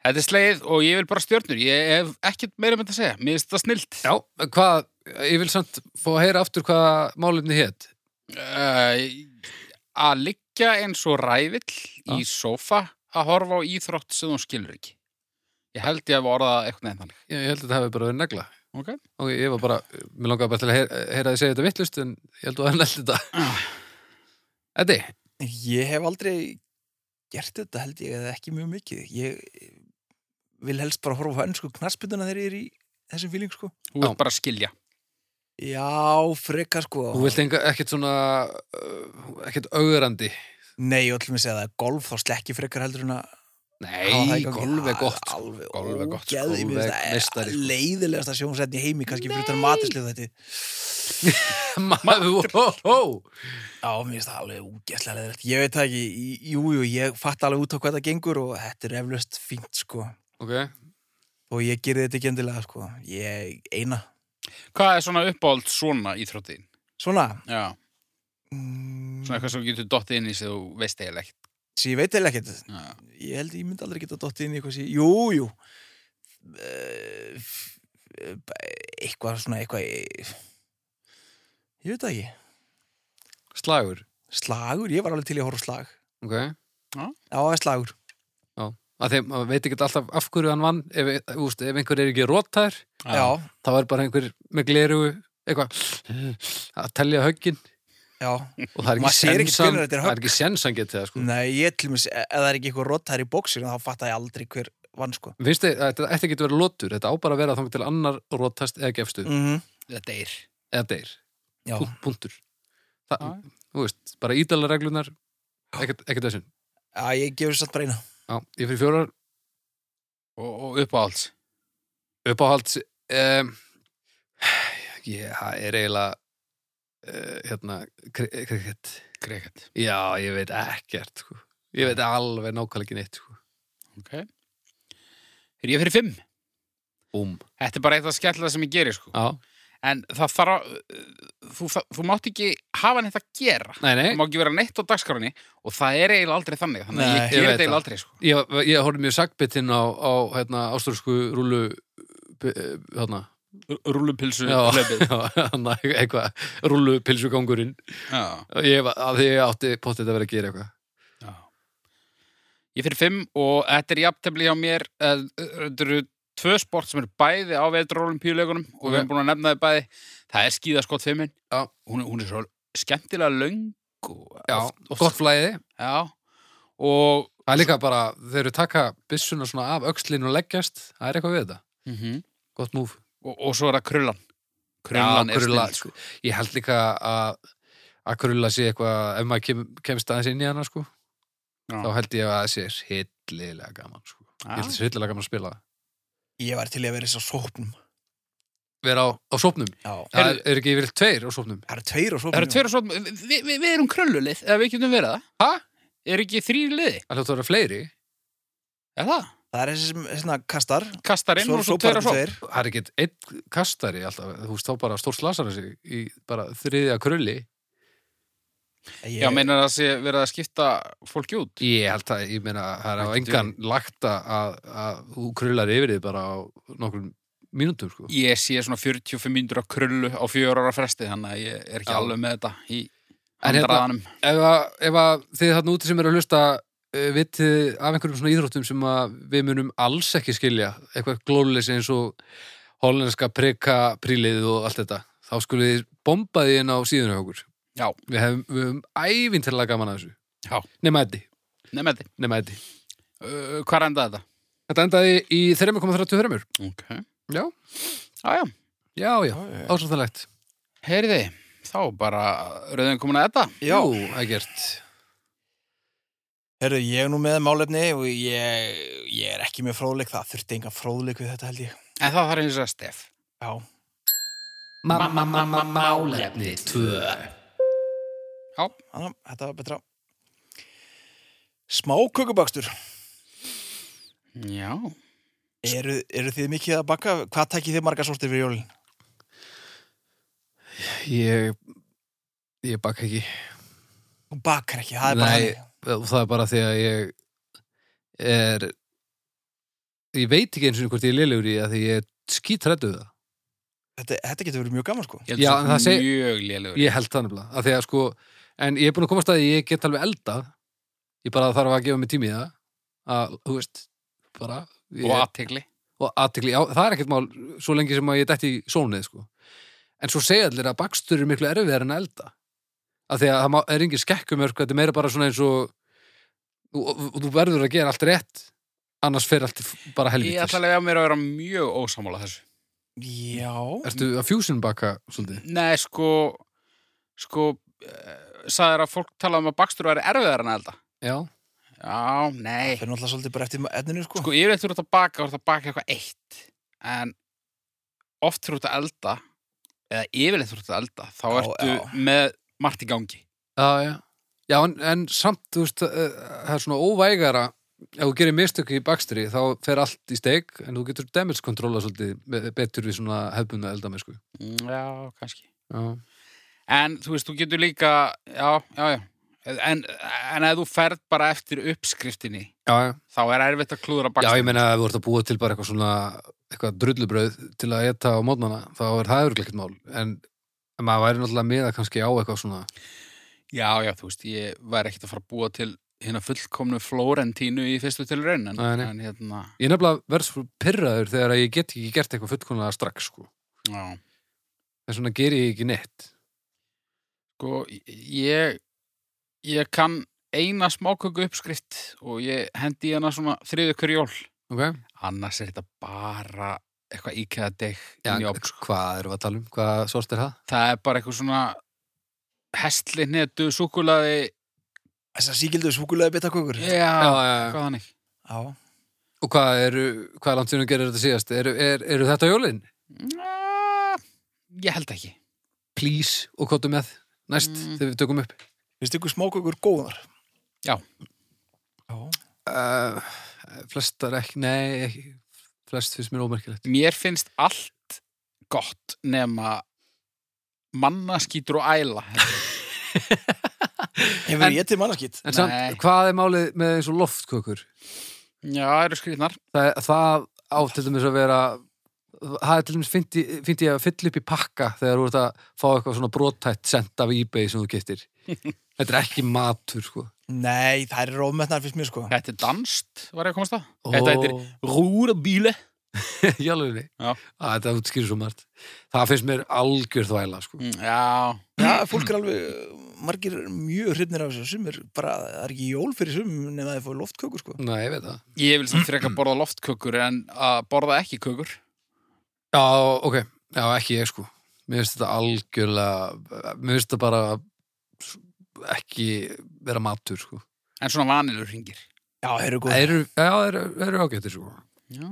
Speaker 1: Þetta er sleið og ég vil bara stjörnur. Ég hef ekkert meira með þetta að segja. Mér finnst þetta snilt.
Speaker 3: já, hvað, ég vil samt fá að heyra aftur hvað málefni hétt
Speaker 1: Eh, að liggja eins og rævill í
Speaker 3: Já.
Speaker 1: sófa að horfa á íþrótt sem þú skilur ekki. Ég held ég að orða það eitthvað nefn þannig.
Speaker 3: ég, ég held að þetta hafi bara verið negla
Speaker 1: Ok.
Speaker 3: og ég var bara, mér langaði bara til að heyra, heyra að segja þetta vittlust en ég held að hann held þetta
Speaker 2: Ah.
Speaker 3: Eddi,
Speaker 2: Ég hef aldrei gert þetta held ég eða ekki mjög mikið. Ég eh, vil helst bara horfa á ennsku knarsbytuna þegar ég er í þessum fíling sko.
Speaker 1: Þú vilt bara skilja.
Speaker 2: Já, frekar sko.
Speaker 3: þú vilt enga, ekkert svona uh, ekkert augrandi
Speaker 2: Nei, ég ætlum að segja það, golf þá slekki frekar heldur en að hafa það í
Speaker 3: Nei,
Speaker 2: gangi.
Speaker 3: golf er
Speaker 2: Það
Speaker 3: gott sko.
Speaker 2: Alveg,
Speaker 3: Golf er gott,
Speaker 2: ógeð, ég
Speaker 3: golf
Speaker 2: finnst
Speaker 3: er
Speaker 2: það
Speaker 3: meistari,
Speaker 2: er
Speaker 3: sko.
Speaker 2: leiðilegasta sjónsetni í heimi, kannski fyrir utan
Speaker 1: Nei.
Speaker 2: matislið þetta.
Speaker 3: Maður, ó, ó, ó.
Speaker 2: Já, mér finnst það alveg úgeðslega leðilegt. Ég veit það ekki, í- jú, jú, ég fatt alveg út á hvað það gengur og þetta er eflust fínt, sko.
Speaker 3: Ok,
Speaker 2: Og ég gerði þetta ekki endilega, sko. Ég eina.
Speaker 1: Hvað er svona uppáhald svona íþróttin?
Speaker 2: Svona.
Speaker 1: Já.
Speaker 2: Mm,
Speaker 1: Svona eitthvað sem þú getur dottið inn í sem þú veist eiginlega ekkert.
Speaker 2: sem ég veit eða ekkert.
Speaker 1: Já.
Speaker 2: Ég held ég myndi aldrei geta dottið inn í eitthvað sem... Jú, jú. Eh, f- eh, Eitthvað svona, eitthvað... Ég, ég veit það ekki.
Speaker 3: slagur
Speaker 2: Slagur, ég var alveg til í að horfa á slag.
Speaker 3: Ok,
Speaker 2: Já, það er slagur.
Speaker 3: að þeim, maður veit ekki alltaf af hverju hann vann ef, úst, ef einhver er ekki rótar
Speaker 2: Já,
Speaker 1: Ah.
Speaker 3: þá er bara einhver með gleru eitthvað að telja höggin
Speaker 2: já.
Speaker 3: og það er
Speaker 2: Maður
Speaker 3: ekki
Speaker 2: sér ekki
Speaker 3: sensan
Speaker 2: hvenær þetta er
Speaker 3: það er ekki sensan getið það
Speaker 1: Mm.
Speaker 3: sko
Speaker 2: Nei, ég til mér, ef það er ekki eitthvað rotar í bóksinu, þá fatt ég aldrei hver vann, sko.
Speaker 3: Finnst þið, þetta ætti ekki að vera lotur, þetta á bara að vera þá til annar rótast eða gefstu
Speaker 2: Mm -hmm.
Speaker 1: Þetta er.
Speaker 3: eða deyr,
Speaker 2: Já.
Speaker 3: Pú, punktur það,
Speaker 1: Já.
Speaker 3: þú veist, bara ídala reglunar ekkert ekkert þessum
Speaker 2: Já, ég gefur satt bara eina.
Speaker 3: Já, ég fyrir fjórar
Speaker 1: Og, og uppáhalds.
Speaker 3: uppáhalds um, ég það er eiginlega uh, hérna kri- krikett
Speaker 1: Kreket.
Speaker 3: já, ég veit ekkert sko. ég veit alveg nákvæmlega ekki neitt sko.
Speaker 1: Ok. Er ég fyrir fimm?
Speaker 3: um,
Speaker 1: Þetta er bara eitt að skella það sem ég gerir, sko.
Speaker 3: já,
Speaker 1: En það þarf að, uh, þú, þú mátt ekki hafa neitt að gera.
Speaker 3: nei, nei
Speaker 1: Það má ekki vera neitt á dagskráni og það er eiginlega aldrei þannig. Þannig að
Speaker 2: Nei,
Speaker 1: ég
Speaker 3: ég
Speaker 1: ger
Speaker 3: veit
Speaker 1: þetta eiginlega
Speaker 3: það.
Speaker 1: aldrei, sko.
Speaker 3: Ég, ég horfði mjög sagbitinn á, á hérna, ástrúsku rúlu eh, hérna,
Speaker 1: Rúlupilsu
Speaker 3: Já.
Speaker 1: hlaupið.
Speaker 3: já, hérna, eitthvað rúlu pilsugangurinn
Speaker 1: Já.
Speaker 3: ég, var- að því ég átti potið að vera að gera eitthvað
Speaker 1: Já. Ég fyrir fimm og þetta er jafntefli hjá mér. eh, Þetta eru tvö sport sem eru bæði á vetrarolimpíuleikunum og við
Speaker 3: Ok.
Speaker 1: erum búin að nefna þið bæði. Það er skíðaskott fimmin.
Speaker 3: Já.
Speaker 1: Hún, er- hún er svo skemmtilega löng. og-
Speaker 3: já,
Speaker 1: oft- oft-
Speaker 3: gott flæði
Speaker 1: Já. Og
Speaker 3: það er líka bara, þeir eru taka byssuna svona af öxlinu og leggjast það er eitthvað við þetta, gott múf
Speaker 1: og, og svo er það krullan krullan
Speaker 3: Já,
Speaker 1: er
Speaker 3: krulla,
Speaker 1: snill sko.
Speaker 3: ég held líka að að krulla sé eitthvað ef maður kem, kemst aðeins inn í hana sko
Speaker 1: Já.
Speaker 3: þá held ég að það sé hillilega gaman sko. ég held
Speaker 1: Já.
Speaker 3: það sé hillilega gaman að spila það.
Speaker 2: Ég var til í að vera þess á sóknum.
Speaker 3: vera á, á sópnum,
Speaker 2: Já.
Speaker 3: það er, er ekki yfir tveir á sópnum
Speaker 2: Það eru tveir á sóknum.
Speaker 1: það eru tveir og svo við, við, við erum krullulið eða við getum verið það
Speaker 3: Ha?
Speaker 1: er ekki þrýr liði
Speaker 3: það hljótt að vera fleiri,
Speaker 1: er það
Speaker 2: Það er þessi sem svona kastar.
Speaker 1: kastar inn
Speaker 2: Svo
Speaker 1: og
Speaker 2: er
Speaker 1: svo
Speaker 2: svo
Speaker 1: tveir
Speaker 2: bara
Speaker 1: og svo
Speaker 2: tveir.
Speaker 3: það er ekki einn kastari alltaf, þú veist þá bara stór slasar sig í bara þriðja krulli
Speaker 2: Ég,
Speaker 1: já meinar það sé verið að skipta fólki út
Speaker 3: ég held að, ég meina, það er á
Speaker 1: Ættu.
Speaker 3: engan lagt að, að þú krullar yfir þið bara á nokkrum mínútum sko.
Speaker 1: ég sé svona 45 mínútur á krullu á fjör ára fresti þannig að ég er ekki
Speaker 3: Já.
Speaker 1: alveg með þetta í
Speaker 3: En hérna-
Speaker 1: handraðanum
Speaker 3: ef, að, ef að þið þarna úti sem eru að hlusta uh, vitið af einhverjum svona íþróttum sem að við munum alls ekki skilja eitthvað glóleysi eins og hollenska preka príliðið og allt þetta þá skulið þið bomba því inn á síðuna hjá okkur
Speaker 1: já,
Speaker 3: við hefum, við hefum ævintilega gaman að þessu
Speaker 1: Já.
Speaker 3: nema Eddi,
Speaker 1: nefnum þetta
Speaker 3: nema Eddi
Speaker 1: uh, hvað enda þetta?
Speaker 3: Þetta endaði í 3,33
Speaker 1: ok
Speaker 3: Já.
Speaker 1: já, já,
Speaker 3: Já, já, ásvöldalegt
Speaker 1: heyriði þá bara rauðin komin að þetta
Speaker 2: Já.
Speaker 3: Jú, það er gert
Speaker 2: Herru, ég er nú með málefni og ég, ég er ekki með fróðleik, það þurfti engan fróðleik við þetta held ég.
Speaker 1: En það þarf eins og að stef.
Speaker 2: Já,
Speaker 3: Málefni 2
Speaker 1: Já,
Speaker 2: annað, þetta var betra. Smákökubakstur.
Speaker 1: já.
Speaker 2: Eru, eru þið mikið að baka? Hvað tækið þið margar sortir fyrir jólin?
Speaker 3: Ég, ég baka ekki
Speaker 2: Þú bakar ekki, það er bara
Speaker 3: Nei.
Speaker 2: þannig.
Speaker 3: og það er bara því að ég er ég veit ekki eins og hvort ég er liðlegur í að því ég er skítrættu það
Speaker 2: Þetta, þetta getur verið mjög gaman sko.
Speaker 1: Ég
Speaker 3: Já,
Speaker 1: held
Speaker 3: en
Speaker 1: svo
Speaker 3: það seg-
Speaker 1: mjög lélugur.
Speaker 3: ég held það nefnilega að því að sko, en ég er búin að komast að því að ég get alveg elda ég bara þarf að gefa mig tími í það að, þú veist, bara ég,
Speaker 1: Og aðtegli.
Speaker 3: og aðtekli, já, það er ekkert mál svo lengi sem að ég dætti í sónið, sko en svo segja allir að bakstur er miklu erfiðar en að elda af því að það má- er engin skekkumörk þetta er meira bara svona eins og þú, og þú verður að gera allt rétt annars fer allt í- bara
Speaker 1: Ég
Speaker 3: helvítis
Speaker 1: ætla að lega mér að vera mjög ósamála þessu.
Speaker 2: Já,
Speaker 3: Ertu að fusion baka svolítið?
Speaker 1: Nei, sko, sko, uh, sagður að fólk tala um að bakstur væri erfiðar en að elda.
Speaker 3: Já,
Speaker 1: Já, nei.
Speaker 2: það er náttúrulega svolítið bara eftir efninu sko.
Speaker 1: Sko, yfirleitt þú ert að baka, þú ert að baka eitthvað eitt. En oft þú ert að elda, eða yfirleitt þú ert að elda, þá
Speaker 2: Já,
Speaker 1: ertu
Speaker 2: já.
Speaker 1: með margt í gangi.
Speaker 3: já, já Já, en, en samt, þú veist, eh, það er svona óvægara ef þú gerir mistök í bakstri þá fer allt í steik en þú getur damage controla svolítið be- betur við svona hefbunna elda með, sko
Speaker 1: Mm, Já, kannski.
Speaker 3: Já,
Speaker 1: En þú veist, þú getur líka, já, já, já. En, en ef þú ferð bara eftir uppskriftinni,
Speaker 3: já, já
Speaker 1: þá er erfitt að klúðra
Speaker 3: Já,
Speaker 1: bakstur.
Speaker 3: ég meina að þú ert að búa til bara eitthvað svona eitthvað drullubröð til að geta á mótnana þá er það örugglega ekkert mál en, en maður væri náttúrulega með að kannski á eitthvað svona
Speaker 1: Já, já, þú veist, ég væri ekkert að fara að búa til hérna fullkomnu Flórentínu í fyrstu tilraun, en,
Speaker 3: Nei, nei.
Speaker 1: en hérna,
Speaker 3: ég er nefnilega verð svo pyrraður þegar að ég get ekki gert eitthvað fullkonlega strax sko.
Speaker 1: já.
Speaker 3: þess vegna ger ég ekki neitt
Speaker 1: Sko, ég, ég kann eina smáköku uppskrift og ég hendi í hana svona þriðu kurjól.
Speaker 3: okay?
Speaker 1: Annars er þetta bara eitthvað íkæða deg
Speaker 3: Já,
Speaker 1: inn í ofn.
Speaker 3: hvað erum við að tala um? Hvað sort er það?
Speaker 1: Það er bara eitthvað svona hestli hnetu, súkulaði,
Speaker 2: Þessar síkildu súkulega bitakökur.
Speaker 1: já,
Speaker 3: Já,
Speaker 1: eitthvað
Speaker 3: já, já.
Speaker 1: þannig.
Speaker 2: Já,
Speaker 3: Og hvað eru, hvað er langt sínum gerir þetta síðast? Eru, er, eru þetta jólin?
Speaker 1: Njá, Ég held ekki.
Speaker 3: Please og kóttu með næst
Speaker 1: Mm.
Speaker 3: þegar við tökum upp
Speaker 2: finnst ykkur smákökur góðar?
Speaker 1: Já.
Speaker 2: Já,
Speaker 3: uh, Flestar ekki, nei ekki, flest finnst mér ómerkilegt
Speaker 1: Mér finnst allt gott nema mannaskítur og æla.
Speaker 2: hefur
Speaker 3: En-
Speaker 2: ég til mannaskitt?
Speaker 3: En samt,
Speaker 1: Nei.
Speaker 3: hvað er málið með eins og loftkökur?
Speaker 1: Já, það eru skrýtnar.
Speaker 3: Það, það á til dæmis að vera það er til dæmis fyndi fyndi ég að fylla upp í pakka þegar þú ert að fá eitthvað svona brottætt sent af ebay sem þú getur Þetta er ekki matur sko
Speaker 2: Nei, það er rófmetnar fyrst mér sko.
Speaker 1: Þetta er danst, var ég að komast að. Þetta heitir
Speaker 3: Ó,
Speaker 1: rúrabíle.
Speaker 3: í alvegurinni.
Speaker 1: Já.
Speaker 3: Að Þetta útskýrir svo margt Það finnst mér algjör þvæla sko
Speaker 1: Mm, Já,
Speaker 2: Já, fólk er alveg, margir eru mjög hrifnir af þessu, sem er bara, það er ekki jól fyrir sum nema þið fóðu loftkökur
Speaker 1: Mm.
Speaker 2: sko.
Speaker 3: Nei, ég veit það
Speaker 1: Ég vil sem freka borða loftkökur en að borða ekki kökur.
Speaker 3: Já, ok, já, ekki ég sko Mér finnst þetta algjörlega Mér finnst þetta bara ekki vera matur sko
Speaker 1: En svona vanilur ringir.
Speaker 2: Já, heyrðu góð.
Speaker 3: Það eru, já, það eru, það eru ágættir sko
Speaker 1: Já.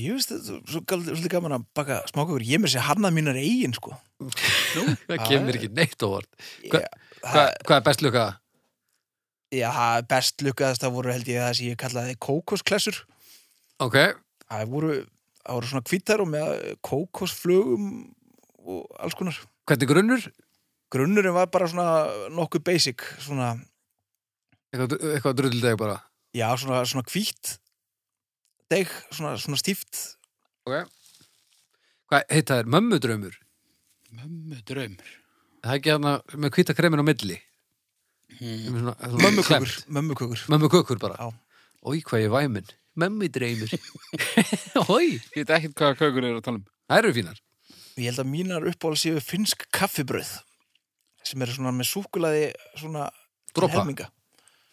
Speaker 2: Ég veist þetta, er svo gal- svolítið gaman að baka smákökur. Ég með sér harnað mínar eigin sko.
Speaker 3: Það
Speaker 2: Já,
Speaker 3: kemur
Speaker 2: já.
Speaker 3: ekki neitt óvart Hva-
Speaker 2: Ég,
Speaker 3: Hva,
Speaker 2: það,
Speaker 3: Hvað er best lukka?
Speaker 2: já, það er best lukkaðast það voru held ég það sem ég kallaði kókosklessur.
Speaker 3: Ok,
Speaker 2: Það voru, það voru svona hvítar og með kókosflögum og alls konar.
Speaker 3: hvernig grunnur?
Speaker 2: Grunnurinn var bara svona nokkuð basic, svona,
Speaker 3: Eitthvað, eitthvað drulldeg bara
Speaker 2: já, svona, svona hvítt deg, svona, svona stíft.
Speaker 3: Ok Hvað heita þér? Mömmudraumur?
Speaker 1: Mömmu draumur.
Speaker 3: Það er ekki hana með hvita kremin á milli
Speaker 1: Hmm.
Speaker 3: Svona- svona
Speaker 2: Mömmukökur,
Speaker 3: klemmt.
Speaker 2: mömmukökur.
Speaker 3: Mömmukökur bara
Speaker 2: Já.
Speaker 3: Ói, hvað ég er væmin Mömmudraumur Ói,
Speaker 1: Ég veit ekkert hvaða kökur eru að tala um.
Speaker 3: það eru fínar
Speaker 2: Ég held að mínar uppáhald séu finnsk kaffibröð sem eru svona með súkulaði svona til
Speaker 3: Dropa
Speaker 2: helminga.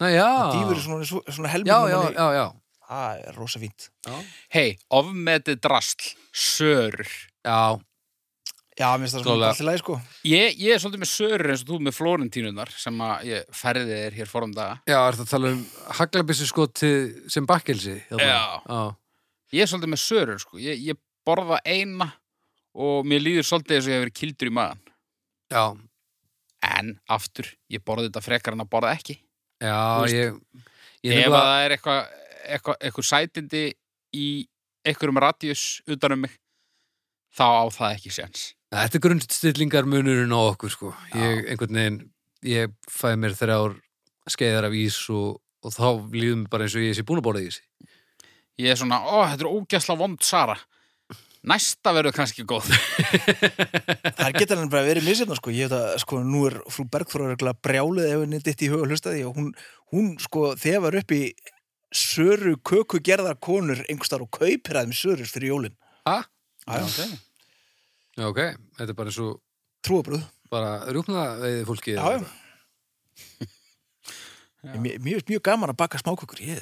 Speaker 3: Nei, já
Speaker 2: Það dýfur í svona, sú- svona helminga.
Speaker 3: Já, já, já, já
Speaker 2: Það er rosa fínt.
Speaker 3: Já,
Speaker 1: Hei, ofmetið drasl, sörur.
Speaker 3: já
Speaker 2: Já, mér finnst það svona
Speaker 3: Klálega.
Speaker 2: allir lagi sko
Speaker 1: Ég, ég er svolítið með sörur eins og þú með florentínunar sem að ég færði þér hér forum daga.
Speaker 3: Já, er það að tala um haglabissu skoti sem bakkelsi? hérna?
Speaker 1: Já. Ég er svolítið með sörur, sko. Ég, ég borða eina og mér líður svolítið eins og ég hef verið kildur í maðan.
Speaker 3: Já,
Speaker 1: En aftur, ég borði þetta frekar en að borða ekki.
Speaker 3: já,
Speaker 1: Þú veist,
Speaker 3: ég... Ég
Speaker 1: Ef að
Speaker 3: nefnilega...
Speaker 1: það er eitthvað eitthva, eitthva sætindi í einhverjum radíus utan um mig, þá á það ekki séns.
Speaker 3: Þetta er grunnstillingar munurinn á okkur, sko.
Speaker 1: Já.
Speaker 3: Ég, einhvern veginn, ég fæði mér þrjár skeiðar af ís og, og þá líðum mér bara eins og ég sé búin að borða ísi.
Speaker 1: Ég er svona, ó, þetta er ógæsla vond Sara. Næsta verður kannski góð.
Speaker 2: Það geta hann bara verið misirna sko Ég veit að sko nú er frú Bergþóra regla brjálið ef henni ditt í huga hlustaði og hún, hún sko þefar upp í söru köku gerðar konur einhverstaðar og kaupir aðeim sörur fyrir jólin
Speaker 3: Hæ?
Speaker 2: Já,
Speaker 1: okay.
Speaker 3: Já, ok. Þetta er bara eins og
Speaker 2: Trúabröð
Speaker 3: bara rjúpna veiði fólki.
Speaker 2: Já, já.
Speaker 3: eða eitthvað.
Speaker 1: Já.
Speaker 2: Mér mér finnst mjög gaman að baka smákökur ég,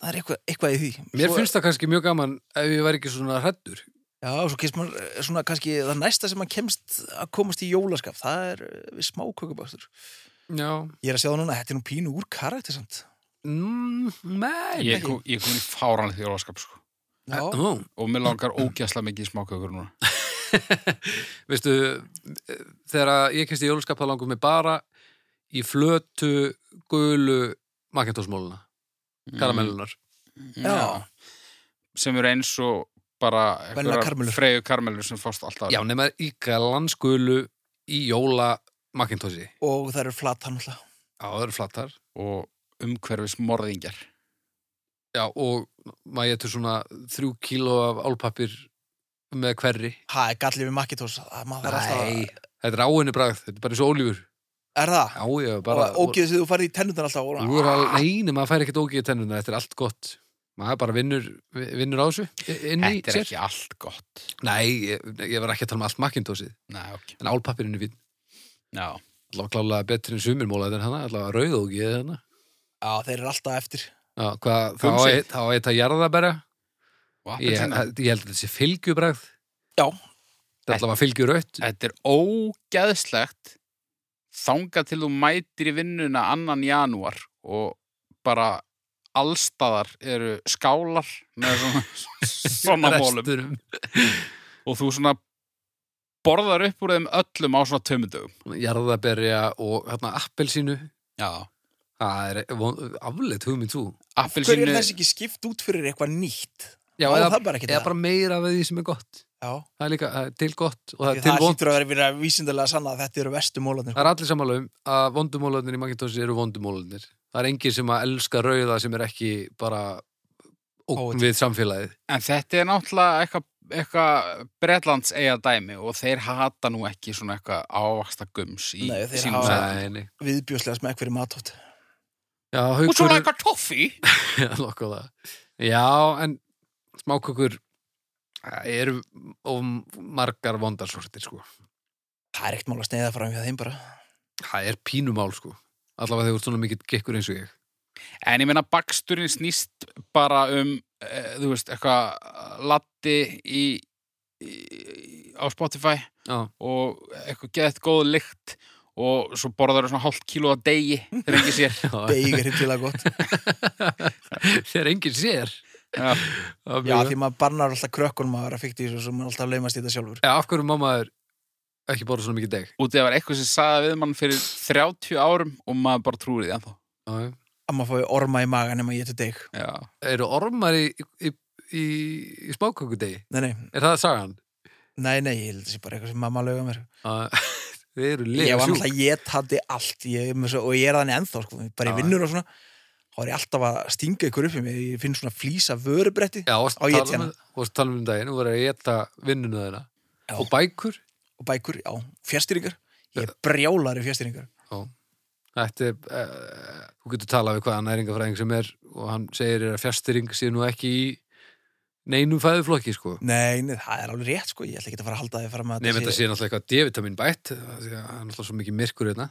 Speaker 2: Það er eitthvað, eitthvað í því
Speaker 3: Mér
Speaker 2: Svo-
Speaker 3: finnst það kannski mjög gaman ef ég væri ekki svona hrættur.
Speaker 2: Já, svo kemst maður eh, svona kannski það næsta sem maður kemst að komast í jólaskap það er eh, við smákökubakstur
Speaker 3: Já.
Speaker 2: Ég er að sjá það núna, þetta er nú pínu úr karakter samt
Speaker 3: Mm, nei.
Speaker 1: Ég, kom- ég kom í fáranlega þjóðaskap, sko.
Speaker 2: Já,
Speaker 3: Nú,
Speaker 1: og mér langar ógæsla mikið í smákökur núna.
Speaker 3: veistu, eh, þegar að ég kemst í jólaskap þá langum mig bara í flötu, gulu, makintósmóluna, Mhm. karamellunar.
Speaker 1: Mm,
Speaker 2: Já.
Speaker 1: Sem eru eins og bara einhverjar
Speaker 2: Venjulegar karamellur.
Speaker 1: freyju karmelur sem fást alltaf.
Speaker 3: Já, nema í galansgulu í jóla makintósi.
Speaker 2: og það eru flata náttúrulega
Speaker 3: Já, það eru flattar.
Speaker 1: Og umhverfis morðingjar.
Speaker 3: Já, og maður getur svona þrjú kíló af álpapir með hverri.
Speaker 2: Ha, er gallið við Makitós maður þarf alltaf að-
Speaker 3: Þetta er áinni bragð, þetta er bara eins og ólífur.
Speaker 2: Er það?
Speaker 3: Já, já, bara...
Speaker 2: Bara, og ógeðið sem þú farið í tennundar alltaf og,
Speaker 3: Þú er alveg, nei, nei, maður fær ekkert ógið tennuna, þetta er allt gott. Maður bara vinnur, vinnur á þessu inn í
Speaker 1: Þetta er ekki allt gott.
Speaker 3: Nei, ég, ég var ekki að tala um allt makkindósið,
Speaker 1: Nei, ok.
Speaker 3: en álpappirinn er fín.
Speaker 1: Já.
Speaker 3: Allavega klálega betri en sumir mólaði en hana, allavega rauð og ekki hana.
Speaker 2: Já, þeir eru alltaf eftir
Speaker 3: Já, hvað, þá
Speaker 1: Gumsið.
Speaker 3: eitt að þetta jarðabæra.
Speaker 1: Og
Speaker 3: Ég,
Speaker 1: appelsína.
Speaker 3: ég held að þetta sé fylgjubræð.
Speaker 2: Já.
Speaker 3: Þetta er allavega fylgjurautt.
Speaker 1: Þetta er ógæðslegt þanga til þú mætir í vinnuna annan janúar og bara allstaðar eru skálar með svona, svona mólum
Speaker 3: Restunum.
Speaker 1: og þú svona borðar upp úr þeim öllum á svona tömudögum.
Speaker 3: Jarðaberja og hérna appelsínu.
Speaker 1: Já.
Speaker 3: Það er von- afleitt hugmynd þú.
Speaker 2: Hverju er
Speaker 1: Appelsínu,
Speaker 2: þessi ekki skipt út fyrir eitthvað nýtt?
Speaker 3: Já,
Speaker 2: Á
Speaker 3: eða,
Speaker 2: það bara ekki
Speaker 3: eða bara meira af því sem er gott.
Speaker 2: Já,
Speaker 3: Það er líka það er til gott og það
Speaker 2: það,
Speaker 3: er til
Speaker 2: það
Speaker 3: vond.
Speaker 2: hlýtur að vera- vera vísindalega sanna að þetta eru vestu mólarnir
Speaker 3: Það er allir sammála um að vondumólarnir í Macintoshi eru vondumólarnir. Það er engin sem að elska rauða sem er ekki bara ógn
Speaker 2: Óviti.
Speaker 3: við samfélagið.
Speaker 1: en þetta er náttúrulega eitthvað eitthva Bretlands eiga dæmi og þeir hata nú ekki svona eitthvað ávaksta gums í
Speaker 2: Nei, þeir
Speaker 1: sínum
Speaker 2: hafa-
Speaker 1: sæðum.
Speaker 3: Nei, nei.
Speaker 2: viðbjóslega smekk fyrir matótt
Speaker 3: Já,
Speaker 1: Og svona
Speaker 3: haukur...
Speaker 1: eitthvað toffi.
Speaker 3: Já, lokka á það. Já, en smákökur það eru of margar vondarsortir, sko.
Speaker 2: Það er ekkert mál að sneiða fram hjá þeim bara
Speaker 3: Það er pínumál, sko. Allavega þegar þú ert svona mikill gekkur eins og ég.
Speaker 1: En ég meina baksturinn snýst bara um, e, þú veist, eitthvað latti í, í, á Spotify
Speaker 3: Já,
Speaker 1: og eitthvað geðt góð lykt og svo borðar það svona hálft kíló að degi þegar engi sér.
Speaker 3: já.
Speaker 2: Beig er hittilega gott
Speaker 3: þegar enginn sér.
Speaker 1: Já.
Speaker 3: Það er
Speaker 2: Já,
Speaker 3: mjög-
Speaker 2: því maður barnar alltaf krökkunum að vera fíkt í þessu sem maður alltaf laumast í þetta sjálfur.
Speaker 3: Já, af hverju mamma er ekki borða svona mikið deg?
Speaker 1: Útið að var eitthvað sem saði við mann fyrir 30 árum og maður bara trúir því ennþá.
Speaker 3: Já, já.
Speaker 2: Að maður fái orma í magan nema ég til deg.
Speaker 1: Já.
Speaker 3: Eru ormar í, í, í, í smákökudegi?
Speaker 2: Nei, nei,
Speaker 3: Er það sagan?
Speaker 2: nei, nei, ég held þessi bara eitthvað sem mamma lauga mér.
Speaker 3: Já, Þið eru
Speaker 2: ég
Speaker 3: lega
Speaker 2: var
Speaker 3: sjúk.
Speaker 2: alltaf, ég tati allt ég, er með svo, og ég er þannig ennþá, sko, bara
Speaker 3: Já.
Speaker 2: ég vinnur og svona. Þá er ég alltaf að stinga ykkur upp í mig, ég finn svona flýsa vörubretti
Speaker 3: Já, varst
Speaker 2: Á
Speaker 3: að
Speaker 2: ég
Speaker 3: tala um-
Speaker 2: tjena.
Speaker 3: varst að tala um daginn og voru að geta vinnuna þeirra.
Speaker 2: Já.
Speaker 3: Og bækur.
Speaker 2: og bækur, já, fjastýringar. Ég er brjálari fjastýringar.
Speaker 3: Þetta er, uh, þú getur talað við hvaða næringafræðing sem er og hann segir þér að fjastýring sé nú ekki í neinum fæðuflokki, sko.
Speaker 2: Nei, nei, það er alveg rétt, sko, ég ætla ekki að fara að halda þið fram að
Speaker 3: Nefnir þetta sé náttúrulega eitthvað D-vitamin bætt, af því að það er náttúrulega svo mikið myrkur hérna.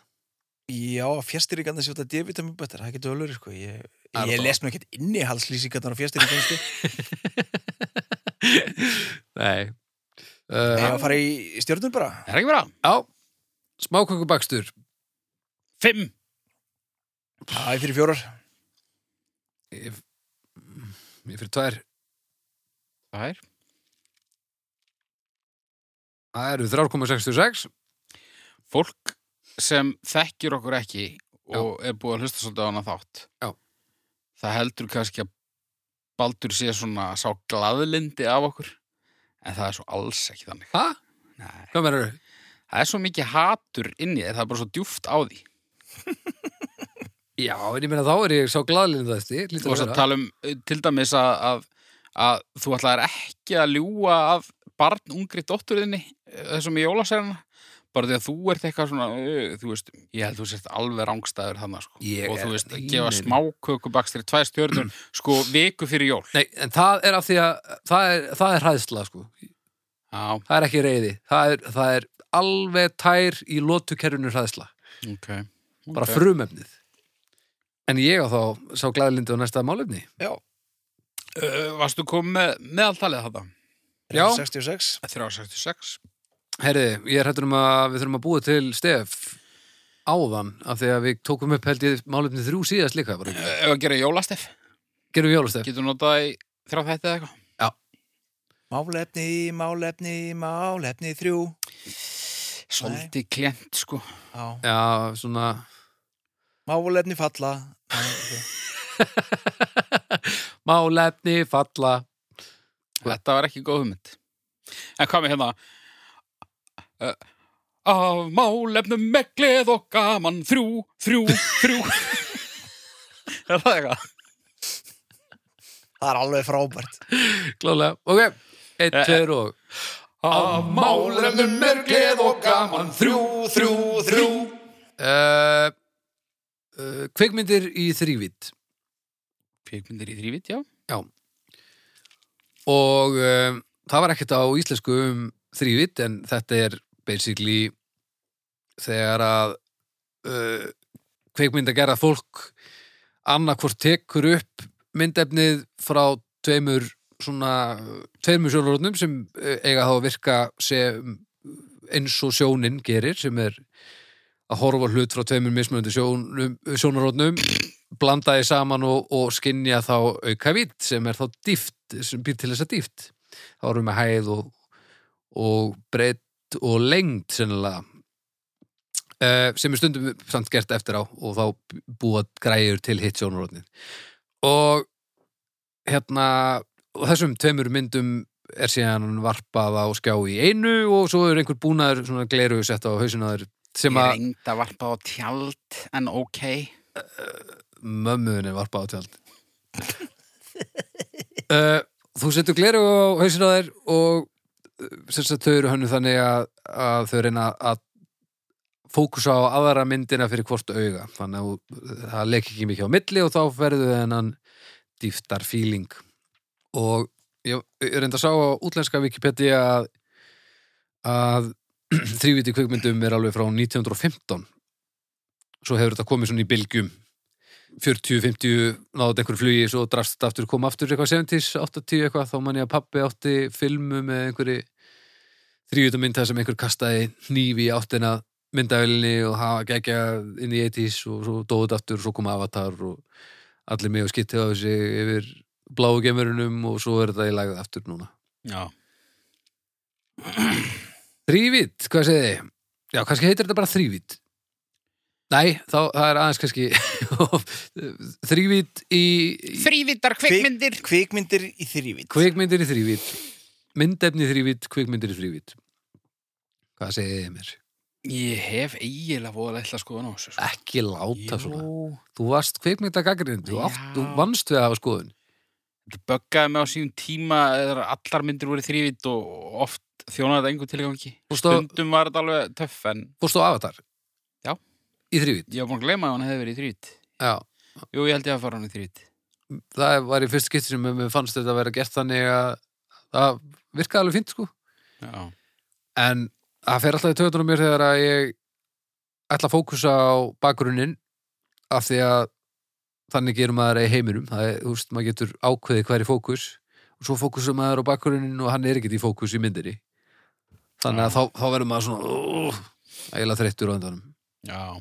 Speaker 2: Já, fjastýringarna sé út að D-vitamin betur, það getur öllur, sko. Ég,
Speaker 3: Það er
Speaker 2: ég
Speaker 3: alltaf-
Speaker 2: les nú ekkert innihalslýsingarnar á fjastýringarna, sko.
Speaker 3: Nei,
Speaker 2: Ég
Speaker 3: uh,
Speaker 2: að fara í stjörnum bara.
Speaker 1: Er það ekki bara?
Speaker 3: Já, smákökubakstur
Speaker 1: Fimm!
Speaker 2: Æ, fyrir fjórar.
Speaker 3: Ég ég fyrir tvær
Speaker 1: Það er.
Speaker 3: Það eru 3,66
Speaker 1: Fólk sem þekkjur okkur ekki og er búið að hlusta svolítið á hana þátt.
Speaker 3: Já.
Speaker 1: Það heldur kannski að Baldur sé svona sá glaðlindi af okkur, en það er svo alls ekki þannig.
Speaker 3: Hæ?
Speaker 1: Nei.
Speaker 3: Hvað meður eru?
Speaker 1: Það er svo mikið hatur inni, það er bara svo djúft á því.
Speaker 3: Já, en ég meina þá er ég sá glaðlinda þetta
Speaker 1: Þú varst að tala um eh, til dæmis að, að, að þú ætlaðir ekki að ljúga af barn ungri dótturðinni eh, þessum í jólaserina bara því að þú ert eitthvað svona eh, þú veist, ég held þú sért alveg rángstæður þannig sko.
Speaker 3: Ég
Speaker 1: og
Speaker 3: er
Speaker 1: þú veist,
Speaker 3: í
Speaker 1: gefa
Speaker 3: neinu.
Speaker 1: smákökubakstri tvær stjörnur, sko, viku fyrir jól
Speaker 3: Nei, en það er af því að það er, það er hræðsla, sko
Speaker 1: Já,
Speaker 3: Það er ekki reyði Það er, það er alveg tær í lótukerfinu hræðsla
Speaker 1: ok
Speaker 3: Bara
Speaker 1: Ok.
Speaker 3: frumefnið En ég á þá sá glaðlindi á næsta málefni
Speaker 1: Eh, Varstu komið með meðaltalið þetta?
Speaker 3: Já.
Speaker 2: 66.
Speaker 1: 366
Speaker 3: Herði, ég er hættur um að við þurfum að búa til stef áðan af því að við tókum upp held ég málefni þrjú síðast líka bara.
Speaker 1: Eh, Ef að gera jólastef,
Speaker 3: Gerum við jólastef?
Speaker 1: getur notað í þrjá þetta eða eitthvað
Speaker 2: Málefni, málefni, málefni þrjú.
Speaker 1: Svolítið klent, sko
Speaker 2: Já.
Speaker 3: Já, svona
Speaker 2: Málefni falla.
Speaker 3: málefni falla
Speaker 1: Þetta var ekki góð hugmynd. En hvað með hérna? Uh, af málefnum meglið og gaman þrjú, þrjú, þrjú. er það eitthvað?
Speaker 2: Það er alveg frábært.
Speaker 3: Klálega, ok, eitt,
Speaker 1: Eh, eh.
Speaker 3: tveir og Af málefnum er gleð og gaman
Speaker 1: þrjú, þrjú, þrjú.
Speaker 3: uh, uh, Kveikmyndir í þrývitt
Speaker 1: Kvikmyndir í þrývit, já.
Speaker 3: og uh, það var ekkert á íslensku um þrývitt en þetta er basically þegar að uh, kveikmynda gerða fólk annarkvort tekur upp myndefnið frá tveimur svona tveimur sjónarotnum sem eh, eiga þá að virka sem eins og sjónin gerir sem er að horfa á hlut frá tveimur mismöndu sjónarotnum blanda því saman og, og skinja þá auka vitt sem er þá dýft sem býr til þess að dýft þá erum við með hæð og, og breytt og lengd sennilega uh, sem er stundum samt gert eftir á og þá búa græjur til hitt sjónarotnin og hérna og þessum tveimur myndum er síðan varpað á skjá í einu og svo er einhver búnaður svona gleru sett á hausinaður sem
Speaker 1: Ég
Speaker 3: að
Speaker 1: reyndi að varpa á tjald, en ok.
Speaker 3: mömmuðinni varpa á tjald uh, Þú setur gleru á hausinn á þér og uh, sem sagt þau eru hönnu þannig að, að þau reyna að fókusa á aðra myndina fyrir hvort auga þannig að þú- það leik ekki mikið á milli og þá verðu þennan dýftar feeling og ég, ég reynda að sá á útlenska Wikipedia að, að þrýviti kvikmyndum er alveg frá 1915 svo hefur þetta komið svona í bylgjum 40, 50, náðu einhver flugi svo drast þetta aftur, kom aftur eitthvað 70s 80 eitthvað, þá man ég að pappi átti filmu með einhverju þrývítumynd þar sem einhver kastaði hnífi í áttina myndavelinni og hafa gegja inn í 80s og svo dóðu þetta aftur, svo kom Avatar og allir mig og skitti á þessi yfir bláu gemurunum og svo er þetta í lagað aftur núna.
Speaker 1: Já.
Speaker 3: Þrývít, hvað segið þið? Já, kannski heitir þetta bara þrývít. Nei, þá, það er aðeins kannski þrývít í, í
Speaker 1: Þrývitar kvikmyndir.
Speaker 2: Kvikmyndir í þrývít.
Speaker 3: Kvikmyndir í þrývít Myndefni í þrývít, kvikmyndir í þrývít Hvað segið þið mér?
Speaker 1: Ég hef eiginlega voðalega ætla að skoða ná þessu. sko.
Speaker 3: Ekki láta svona
Speaker 1: Jú.
Speaker 3: Þú varst kvikmyndagagrinn, þú, átt-
Speaker 1: Já.
Speaker 3: þú vannst við að hafa skoðun
Speaker 1: Þetta böggaði mig á sínum tíma eða allar myndir voru þrývitt og oft þjónaði þetta engu tilgangi.
Speaker 3: Þú stóð,
Speaker 1: Stundum var þetta alveg töff en
Speaker 3: þú stóð avatar
Speaker 1: Já.
Speaker 3: Í þrývít,
Speaker 1: ég var búin að gleyma að hann hefði verið í þrývitt.
Speaker 3: já
Speaker 1: Jú, ég held ég að fara hann í þrývitt.
Speaker 3: Það var í fyrst skipti sem mér fannst þetta að vera gert þannig að það virkaði alveg fínt sko
Speaker 1: Já.
Speaker 3: en það fer alltaf í töðunum mér þegar að ég ætla að fókusa á bakgrunnin af því að þannig gerum maður í heiminum það er, þú veist, maður getur ákveðið hver er í fókus og svo fókusum maður á bakgrunnin og hann er ekkert í fókus í myndinni þannig að þá, þá verður maður svona uh, eiginlega þreyttur á endanum
Speaker 1: Já.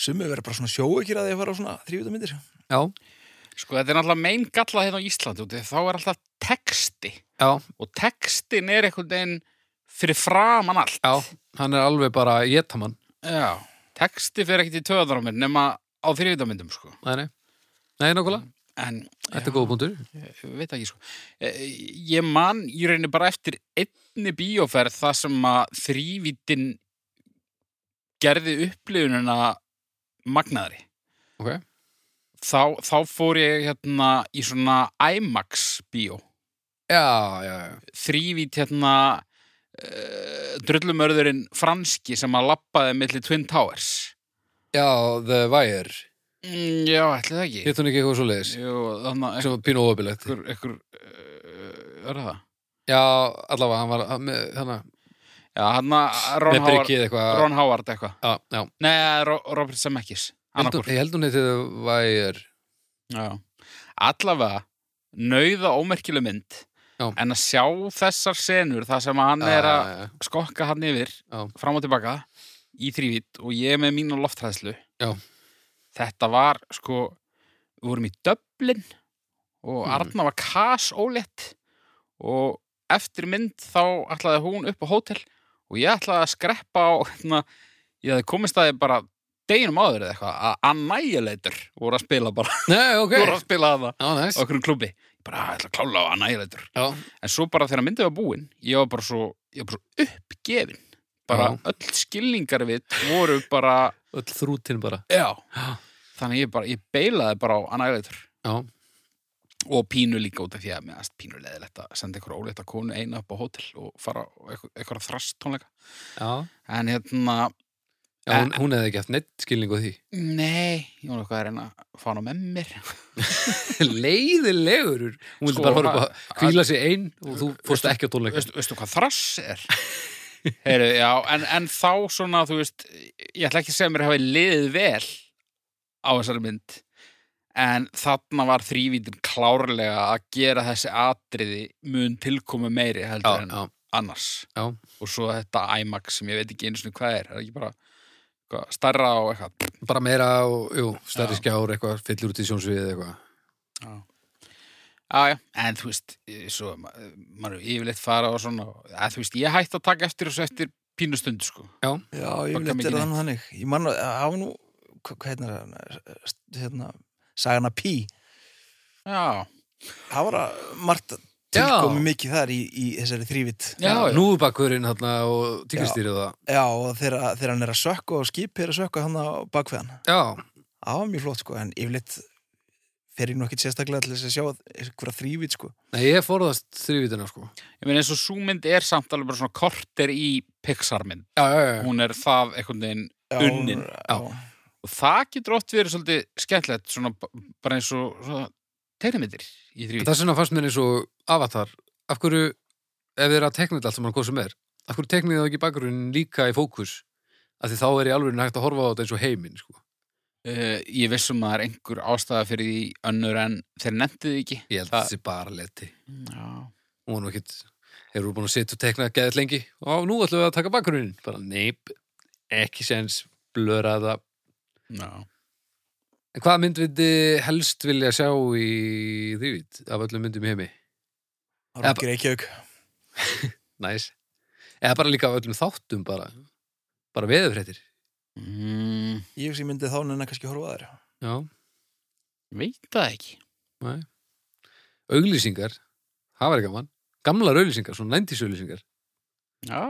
Speaker 2: Sumið verður bara svona sjóekir að þeir fara á svona þrývita myndir.
Speaker 3: já,
Speaker 1: Sko, þetta er náttúrulega mein galla hérna á Íslandi og þá er alltaf texti
Speaker 3: já,
Speaker 1: og textin er einhvern veginn fyrir framan allt.
Speaker 3: já hann er alveg bara jetamann
Speaker 1: Já. Texti fyrir ekkert í töðar á mér nema á þrjöðamyndum, sko.
Speaker 3: nei, nei, nei nákvæmlega,
Speaker 1: En
Speaker 3: þetta er góða punktur
Speaker 1: ég veit ekki, sko. Eh, Ég man, ég reynir bara eftir einni bíóferð það sem að þrývítin gerði upplifunina magnaðri.
Speaker 3: Ok.
Speaker 1: Þá, þá fór ég hérna í svona IMAX bíó.
Speaker 3: já, já, já,
Speaker 1: þrývít hérna uh, drullumörðurinn franski sem að lappaði millir Twin Towers
Speaker 3: já, The Wire
Speaker 1: mm, Já, ætli það ekki
Speaker 3: hitt hún ekki eitthvað svo leiðis
Speaker 1: Jú, þannig að
Speaker 3: sem var pínu óöfilegt
Speaker 1: ekkur, ekkur uh, e, er það?
Speaker 3: já, allavega, hann var hann með- hérna,
Speaker 1: Já, hann að
Speaker 3: með
Speaker 1: Ron Howard
Speaker 3: bryggið eitthvað
Speaker 1: Ron Howard eitthvað
Speaker 3: já, já,
Speaker 1: Nei, eh, Ro Robert Zemeckis
Speaker 3: Held hún-
Speaker 1: annaðhvort.
Speaker 3: ég held hún heiti The Wire
Speaker 1: Já. Allavega nauða ómerkileg mynd
Speaker 3: Já.
Speaker 1: en að sjá þessar senur það sem að hann
Speaker 3: Já,
Speaker 1: er að
Speaker 3: Ah, já, já.
Speaker 1: skokka hann yfir
Speaker 3: Já.
Speaker 1: fram og tilbaka í þrývít og ég með mínu loftræðslu
Speaker 3: Já.
Speaker 1: þetta var sko við vorum í Dublin og
Speaker 3: Mm.
Speaker 1: Arna var kas ólétt og eftir mynd þá ætlaði hún upp á hótel og ég ætlaði að skreppa á hérna, ég hefði komist að þið bara deginum áður eða eitthvað að Annihilator voru að spila bara
Speaker 3: Nei, ok,
Speaker 1: voru að spila að það
Speaker 3: já, næs
Speaker 1: á okkur klubbi ég bara "Ah, ég ætla að klála á Annihilator
Speaker 3: Já,
Speaker 1: En svo bara þegar myndið var búin, ég var bara svo, ég var bara svo uppgefin. Bara öll skilningar við voru bara,
Speaker 3: öll þrútin bara
Speaker 1: já.
Speaker 3: Já.
Speaker 1: Þannig ég bara, ég beilaði bara á anægleitur.
Speaker 3: Já.
Speaker 1: Og pínu líka út af því að mér aðst pínu leðilegt að senda ykkur óleita konu eina upp á hótel og fara á eitthvað, eitthvað þrast tónleika.
Speaker 3: Já,
Speaker 1: En hérna,
Speaker 3: já hún, hún hefði ekki haft neitt skilningu á því
Speaker 1: nei, ég var eitthvað að reyna að fá hana með mér.
Speaker 3: Leiðilegur Hún vildi
Speaker 1: Sko,
Speaker 3: bara fara upp
Speaker 1: að-
Speaker 3: að kvíla sig einn og þú fórst ekki að tónleika
Speaker 1: veistu, veistu hvað þrass er? Heyru, já, en, en þá svona, þú veist, ég ætla ekki að segja mér hafi liðið vel á þessari mynd, en þarna var þrývítin klárlega að gera þessi atriði mun tilkomi meiri
Speaker 3: Já,
Speaker 1: heldur en
Speaker 3: já,
Speaker 1: annars.
Speaker 3: Já.
Speaker 1: Og svo þetta IMAX sem ég veit ekki einu sinni hvað er, er það ekki bara hvað, starra og eitthvað.
Speaker 3: bara meira og jú, stærri
Speaker 1: Já.
Speaker 3: skjár eitthvað, fyllir út í sjónsviðið eitthvað
Speaker 1: Já, já, en þú veist, eh, svo, ma- maður er yfirleitt fara og svona, að, þú veist, ég hætti að taka eftir þessu eftir pínustundu, sko.
Speaker 2: Já, ég
Speaker 1: Bagga
Speaker 2: vil
Speaker 1: mikið
Speaker 2: eftir þannig þannig. Ég man að hafa nú, hva- hvað hérna er hann? Hérna, sagana Pí.
Speaker 1: Já,
Speaker 2: Það var að margt tilkomi mikið þar í, í þessari þrývit.
Speaker 1: já, já.
Speaker 3: Núfubakkurinn þarna og tíkristýrið það
Speaker 2: Já, og þegar, þegar hann er að sökka og skip er að sökka hann á bakveðan.
Speaker 3: Já,
Speaker 2: Það var mjög flott, sko, en yfirleitt fer ég nú ekkit sérstaklega til þess að sjá einhverja þrývit, sko.
Speaker 3: nei, ég forðast þrývítina sko
Speaker 1: Ég meina eins og súmynd er samt alveg bara svona korter í Pixar-mynd.
Speaker 3: Já, já, já,
Speaker 1: Hún er það einhvern veginn
Speaker 2: Já,
Speaker 1: Unnin.
Speaker 2: Já,
Speaker 1: og það getur oft verið svolítið skemmtilegt svona b- bara eins og svona tegnmyndir í þrývíð.
Speaker 3: Það sem fannst mér eins og avatar Af hverju, ef þið er að tekna þetta allt sem hann hvað sem er Af hverju teknið það ekki bakgrunnin líka í fókus Af því þá er í alveg hægt að horfa á þetta eins og heiminn sko.
Speaker 1: Uh, ég vissum að það er einhver ástæða fyrir því önnur en þeir nefndu því ekki.
Speaker 3: Ég held
Speaker 1: Það-
Speaker 3: það sé bara leti
Speaker 1: Já.
Speaker 3: Hún var ekkit, þeir eru búin að sitja og tekna geðið lengi og nú ætlum við að taka bakgrunnin Bara neip, ekki sens blöra það
Speaker 1: Já.
Speaker 3: En hvaða mynd vildi helst vilja sjá í þrývít af öllum myndum í heimi?
Speaker 2: það var ekki reykjauk.
Speaker 3: Næs Eða bara líka af öllum þáttum bara bara veðurfréttir
Speaker 1: Mm,
Speaker 2: Ég hugsa ég myndi þá nennan kannski horfa að þér.
Speaker 3: Já
Speaker 1: veit það ekki.
Speaker 3: auglýsingar það væri gaman, gamlar auglýsingar svona nændisauglýsingar,
Speaker 1: Já.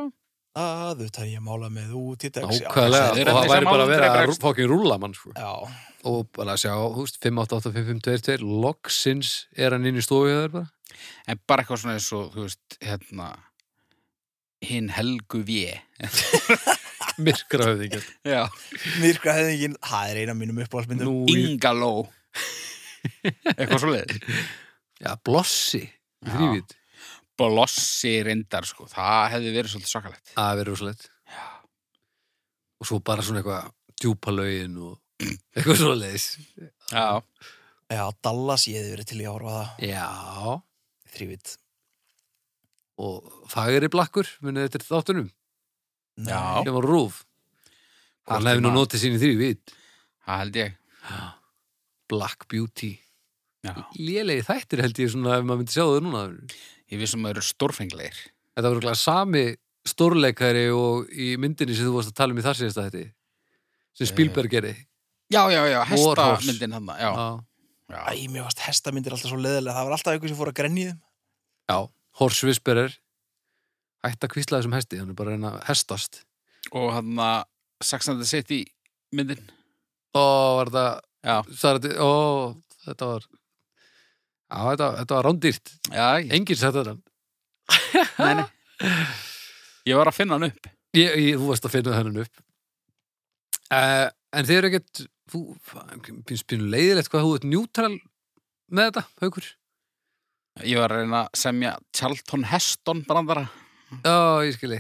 Speaker 2: Að þetta ég mála með út í dags.
Speaker 3: ákvæðlega
Speaker 1: þeir eru
Speaker 3: og það
Speaker 1: allir
Speaker 3: væri
Speaker 1: sem
Speaker 3: bara að vera
Speaker 1: aldrei
Speaker 3: að
Speaker 1: bregst.
Speaker 3: fókin rúla mann sko.
Speaker 2: Já,
Speaker 3: og bara að sjá, húst, 5885522 loksins er hann inn í stofu hjá þér bara,
Speaker 1: En bara eitthvað svona eins og, þú veist, hérna, hinn helgu vje.
Speaker 3: myrkra höfðingar
Speaker 1: Já.
Speaker 2: myrkra hefðingin, það er eina af mínum uppáhalsmyndum.
Speaker 3: nú, í-
Speaker 1: Ingaló. eitthvað svo leiðið.
Speaker 3: já, blossi
Speaker 1: Já.
Speaker 3: þrývít,
Speaker 1: blossi reyndar sko, það hefði verið svolítið svakalegt
Speaker 3: það verður svolít og svo bara svona eitthvað djúpa lögin og eitthvað svo leiðis
Speaker 1: Já,
Speaker 2: Já, Dallas, ég hefði verið til í að horfa á það.
Speaker 3: já,
Speaker 2: Þrývit.
Speaker 3: og Fagri Blakkur, munið þetta þáttunum,
Speaker 1: Já.
Speaker 3: sem var rúf.
Speaker 1: Hvort
Speaker 3: Hann hefði nú
Speaker 1: tíma.
Speaker 3: notið sín í þrjú vit.
Speaker 1: það held ég
Speaker 3: Black Beauty.
Speaker 1: Já.
Speaker 3: Lélegi þættir held ég svona ef maður myndi sjá það núna.
Speaker 1: Ég vissum að það eru stórfenglegir
Speaker 3: Þetta var okkur sami stórleikari og í myndinni sem þú varst að tala um í þar síðasta þetta.
Speaker 1: Eh,
Speaker 3: Sem Spielberg gerði.
Speaker 1: Já, já, já,
Speaker 3: Warhorse.
Speaker 1: hestamyndin hann já.
Speaker 3: Já.
Speaker 1: Já.
Speaker 2: Æ, mér varst hestamyndir alltaf svo leðilega. Það var alltaf einhver sem fór að grenja í þeim.
Speaker 3: Já, Horse Whisperer hætt að kvísla þessum hesti, hann er bara að reyna að hestast
Speaker 1: Og hann að Saxandi City myndin
Speaker 3: Ó, var það,
Speaker 1: Já,
Speaker 3: það er, ó, þetta var Já, þetta, þetta var rándýrt
Speaker 1: já, ég,
Speaker 3: Enginn sætti þetta
Speaker 1: nei, nei. ég var að finna hann upp
Speaker 3: ég, ég, Þú varst að finna þennan upp uh, En þið eru ekkert Þú, finnst pínu leiðilegt hvað þú ert njútral með þetta, haukur
Speaker 1: Ég var að reyna að semja Charlton Heston brandara
Speaker 3: Já, ég skilji,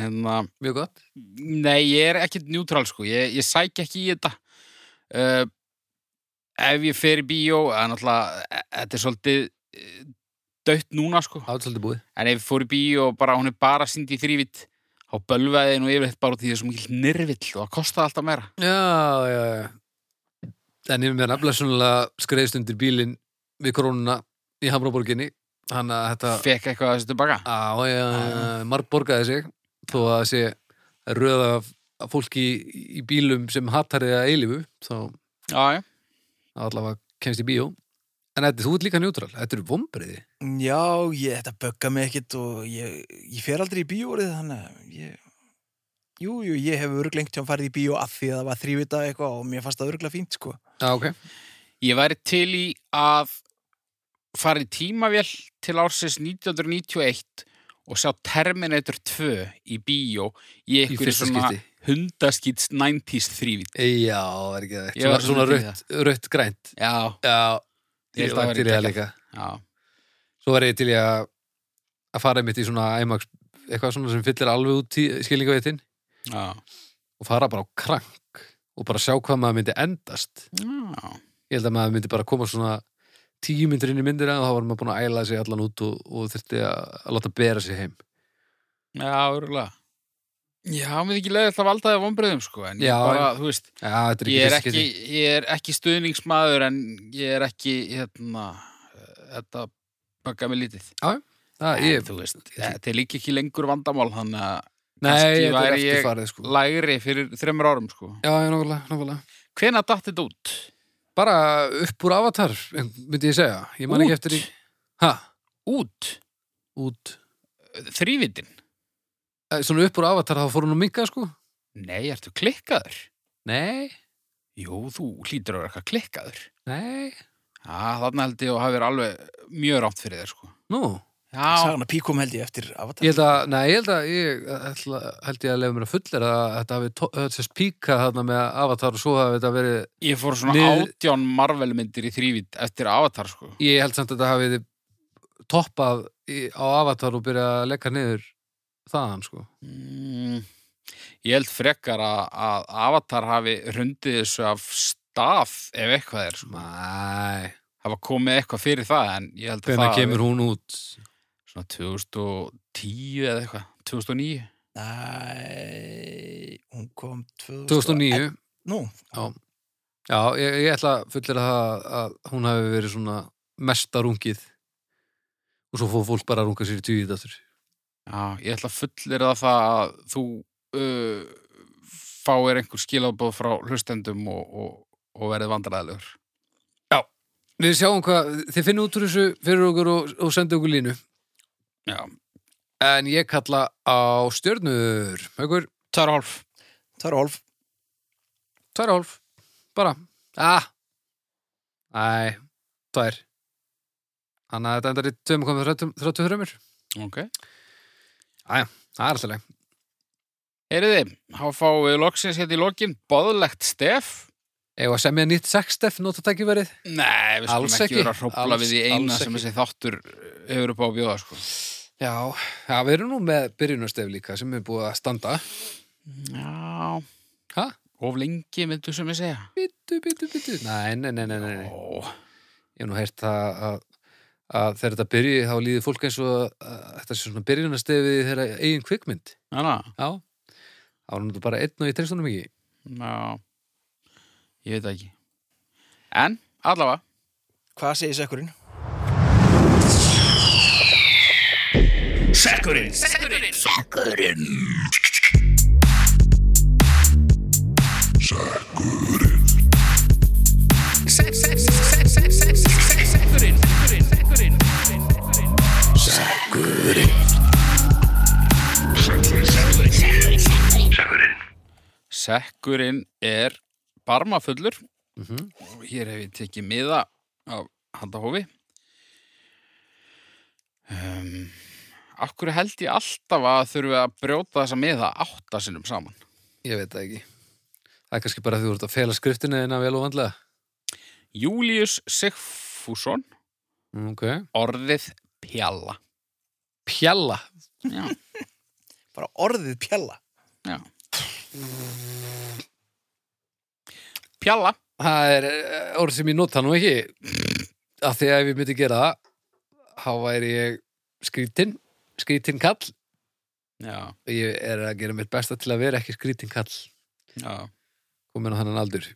Speaker 1: Hérna,
Speaker 3: mjög gott
Speaker 1: nei, ég er ekkit njútrál sko Ég, ég sæk ekki í þetta uh, Ef ég fer í bíó Það er náttúrulega, e- þetta er svolítið eh, Dautt núna sko
Speaker 3: Átt svolítið búið
Speaker 1: En ef ég fór í bíó og bara hún er bara síndi í þrývitt þá bölvaði ég nú yfirleitt bara út í þessum ekki nyrvill og það kostaði alltaf meira.
Speaker 3: Já, já, já En ég með nafnilega svonlega skreiðst undir bílinn við krónuna í Hamraborginni Þannig að þetta
Speaker 1: Fekk eitthvað að þessu tilbaka.
Speaker 3: Já, já, marg borgaði sig þó að það sé röða af fólki í, í bílum sem hattar eða eilifu þá
Speaker 1: Já, já.
Speaker 3: allavega kemst í bíó En þetta, þú ert líka njútral, þetta eru vombriði
Speaker 2: Já, ég, þetta bögga mig ekkit og ég, ég fer aldrei í bíórið þannig að ég... Jú, jú, ég hef örglengt hjá að farið í bíó að því að það var þrývita eitthvað og mér fannst það örgla fínt, sko.
Speaker 3: Já, ok
Speaker 1: Ég væri til í að fara í tímavél til ársins 1991 og sjá Terminator 2 í bíó í
Speaker 3: Í
Speaker 1: einhverju
Speaker 3: fyrsta
Speaker 1: svona
Speaker 3: skipti
Speaker 1: hundaskýts 90s þrývitt.
Speaker 3: Já, það er ekki það
Speaker 1: Ég var
Speaker 3: Svona, svona
Speaker 1: svolítið í
Speaker 3: rött, rött grænt
Speaker 1: Já,
Speaker 3: Já,
Speaker 1: Ég
Speaker 3: ég
Speaker 1: held að
Speaker 3: var
Speaker 1: væri
Speaker 3: til í það
Speaker 1: geggjað.
Speaker 3: líka
Speaker 1: já.
Speaker 3: Svo var ég til í að að fara einmitt í svona IMAX eitthvað svona sem fyllir alveg út í skilningaveitin
Speaker 1: Já.
Speaker 3: og fara bara á krank og bara sjá hvað maður myndi endast
Speaker 1: Já.
Speaker 3: ég held að maður myndi bara koma svona tíu myndir inn í myndina og þá var maður búin að æla sig allan út og, og þurfti að, að láta bera sig heim
Speaker 1: Já, örgulega. Já, mér er ekki leiðið að valdaði vombriðum, sko, en
Speaker 3: Já,
Speaker 1: ég bara, þú veist,
Speaker 3: Já, þetta er ekki
Speaker 1: ég er
Speaker 3: fyrsta
Speaker 1: ekki,
Speaker 3: skipti.
Speaker 1: ég er ekki stuðningsmaður en ég er ekki hérna, þetta baka mig lítið
Speaker 3: Það,
Speaker 1: en,
Speaker 3: ég,
Speaker 1: þú veist, þetta er líka ekki lengur vandamál þannig að
Speaker 3: Nei,
Speaker 1: kannski
Speaker 3: þetta er
Speaker 1: væri ég-
Speaker 3: eftirfarið sko Já,
Speaker 1: lægri fyrir þremur árum sko
Speaker 3: já, nákvæmlega, nákvæmlega
Speaker 1: hvena datt þetta út?
Speaker 3: Bara upp úr avatar, myndi ég segja Ég man ekki
Speaker 1: Út.
Speaker 3: eftir í Ha,
Speaker 1: Út?
Speaker 3: út
Speaker 1: Þrývitin?
Speaker 3: Eh, Svona upp úr avatar, þá fór hún að minka sko
Speaker 1: Nei, ertu klikkaður?
Speaker 3: Nei,
Speaker 1: Jú, þú hlýtur að vera eitthvað klikkaður
Speaker 3: nei,
Speaker 1: Já, þarna held ég að hafa verið alveg mjög rátt fyrir þér sko
Speaker 3: nú
Speaker 1: Já,
Speaker 2: Sagana píkum held ég eftir avatar.
Speaker 3: Ég held að, nei, ég held að ég ætla, held ég að lefa mér að fullera að þetta hafi to- þess píka þarna með avatar og svo hafi þetta verið
Speaker 1: ég fór svona
Speaker 3: Nið-
Speaker 1: átján marvelmyndir í þrývit eftir Avatar sko
Speaker 3: Ég held samt að þetta hafi toppað í, á avatar og byrjað að leggja niður þaðan, sko.
Speaker 1: Mm, ég held frekar að, að Avatar hafi hrundið þessu af stað ef eitthvað er. Sko.
Speaker 3: Mæ,
Speaker 1: Hafa komið eitthvað fyrir það en ég held að
Speaker 3: hvenær
Speaker 1: það
Speaker 3: kemur hún út?
Speaker 1: hafi svona 2010 eða eitthvað, 2009.
Speaker 2: Næ, hún kom 2000...
Speaker 3: 2009.
Speaker 2: Nú,
Speaker 3: Já, ég, ég ætla fullir að, það að hún hafi verið svona mesta rungið og svo fóð fólk bara að runga sér í tíu dættur.
Speaker 1: Já, ég ætla fullir að það að þú uh, fáir einhver skilabóð frá hlustendum og, og, og verið vandræðilegur.
Speaker 3: Við sjáum hvað, þið finnum út úr þessu fyrir okkur og, og sendið okkur línu.
Speaker 1: Já,
Speaker 3: En ég kalla á stjörnur, haukur,
Speaker 1: tæra hálf.
Speaker 2: það er hálf.
Speaker 3: tvær og hálf, bara. Ah, æ, tvær. Þannig að þetta endar í 2,33.
Speaker 1: Ok.
Speaker 3: Það er alltaf leið.
Speaker 1: Eriði, þá fáum við loksins hérna í lokin boðlegt stef.
Speaker 3: Eða semja nýtt sextef notatækifærið.
Speaker 1: Nei, við skulum
Speaker 3: Alls
Speaker 1: ekki,
Speaker 3: ekki.
Speaker 1: vera að hrópla
Speaker 3: Alls-
Speaker 1: við í eina
Speaker 3: alls
Speaker 1: sem
Speaker 3: ekki.
Speaker 1: þessi þáttur eh, hefur upp á að bjóða, sko.
Speaker 3: Já, já, við erum nú með byrjunarstef líka sem er búið að standa.
Speaker 1: Já,
Speaker 3: Hæ?
Speaker 1: of lengi myndu sem ég segja.
Speaker 3: Bittu, bittu, bittu. Nei, nei, nei, nei, nei.
Speaker 1: Ó,
Speaker 3: Ég hef nú heyrt það að að þegar þetta byrji þá líði fólk eins og að þetta sé svona byrjunastefið þeirra eigin kvikmynd
Speaker 1: Þannig
Speaker 3: já, þá er hann bara einn og ég treyst honum ekki
Speaker 1: Já, ég veit það ekki. En, allavega,
Speaker 2: Hvað segir sekkurinn?
Speaker 1: sekkurinn er barmafullur.
Speaker 3: mm
Speaker 1: og Hér hef ég tekið miða af handahófi. Um, akkur held ég alltaf að þurfi að brjóta þessa miða átta sinnum saman.
Speaker 3: ég veit það ekki það er kannski bara því þú ert að fela skriftinu en vel og vandlega
Speaker 1: Július Sigfússon,
Speaker 3: Mm, ok,
Speaker 1: orðið pjalla.
Speaker 3: pjalla
Speaker 1: Já,
Speaker 2: Bara orðið pjalla.
Speaker 1: pjalla.
Speaker 3: það er eh, orð sem ég nota nú ekki af því að ef ég myndi gera það þá væri ég skrítinn skrítinn kall
Speaker 1: Já,
Speaker 3: ég er að gera mitt besta til að vera ekki skrítinn kall
Speaker 1: já.
Speaker 3: komin á þannan aldur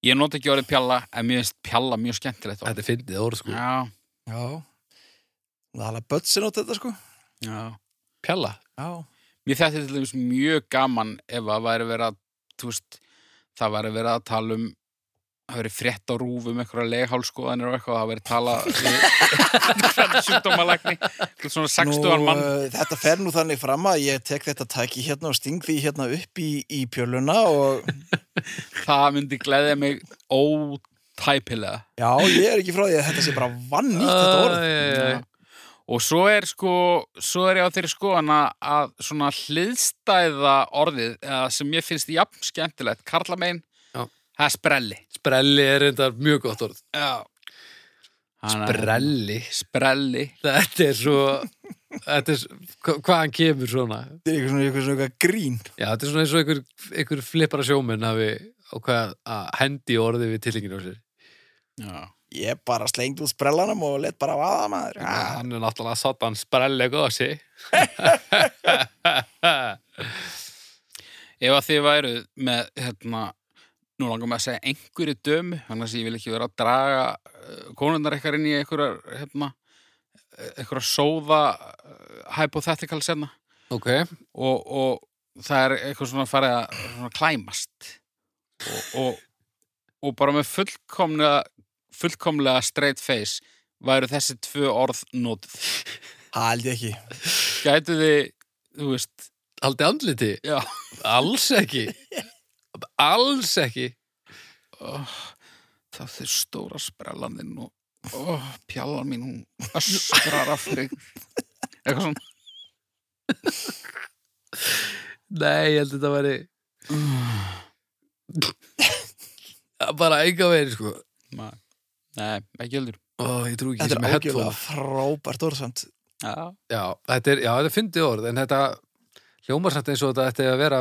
Speaker 1: Ég nota ekki orðið pjalla, en mér finnst pjalla mjög skemmtilegt. orð.
Speaker 3: þetta er fyndið orð sko
Speaker 1: Já,
Speaker 2: Já. Það er alveg bötsin á þetta, sko.
Speaker 1: já.
Speaker 3: pjalla
Speaker 2: Já.
Speaker 1: Mér þetta til dæmis mjög gaman ef að væri verið að, þú veist, það væri verið að tala um, það væri frétt á rúfum, einhverja leghálskoðanir og eitthvað, það væri tala um hvernig sjúkdómalækni, einhvern svona 60-an mann.
Speaker 2: uh, þetta fer nú þannig fram að ég tek þetta tæki hérna og sting því hérna upp í, í pjöluna og
Speaker 3: eh.
Speaker 1: Það myndi gleðja mig ótæpilega.
Speaker 2: já, ég er ekki frá því að þetta sé bara vannýtt þetta orð.
Speaker 3: Æ, æ, æ.
Speaker 1: Og svo er sko, svo er ég á þeirri skoðan að- að svona hliðstæða orðið, eða sem ég finnst jafn skemmtilegt, karlamein,
Speaker 3: Já.
Speaker 1: það er sprelli.
Speaker 3: sprelli er reyndar mjög gott orð
Speaker 1: Já.
Speaker 3: sprelli
Speaker 1: Sprelli.
Speaker 3: þetta er svo þetta er, s- hva- hvaðan kemur svona
Speaker 2: Þetta er eitthvað svona, eitthvað svona eitthvað grín.
Speaker 3: já, þetta er svona eins og einhver, einhver flippara sjóminn hafi og hvað að hendi orði við tillinginu á sér
Speaker 1: Já.
Speaker 2: Ég bara slengd út sprellanum og let bara vaða maður.
Speaker 3: Já, hann er náttúrulega satan sprelli gósi
Speaker 1: Ef að þið væruð með, hérna, nú langar maður að segja einhverju dömu, þannig að ég vil ekki vera að draga uh, konundar eitthvað inn í einhverjar, hérna, eh, einhverjar sóða uh, hypothetical senna
Speaker 3: ok,
Speaker 1: og, og það er eitthvað svona farið að svona klæmast og, og, og bara með fullkomlega, fullkomlega straight face væru þessi tvö orð nótið.
Speaker 2: Það Ah, held ég ekki.
Speaker 1: Gætu þið, þú veist,
Speaker 3: haldi andliti
Speaker 1: já,
Speaker 3: alls ekki alls ekki
Speaker 1: oh, það er stóra sprellandinn og oh, pjallan mín hún öskrar af fyrir eitthvað svona
Speaker 3: nei, ég held að þetta væri bara enga veginn sko
Speaker 1: Ma- Nei, ekki heldur
Speaker 3: Ó, ég trú ekki
Speaker 2: Þetta
Speaker 3: sem
Speaker 2: er ágjöflega
Speaker 3: headphone
Speaker 2: frábært orðsamt.
Speaker 1: Já,
Speaker 3: já, þetta er, já, þetta er fyndið orð en þetta hljómar samt eins og þetta ætti að vera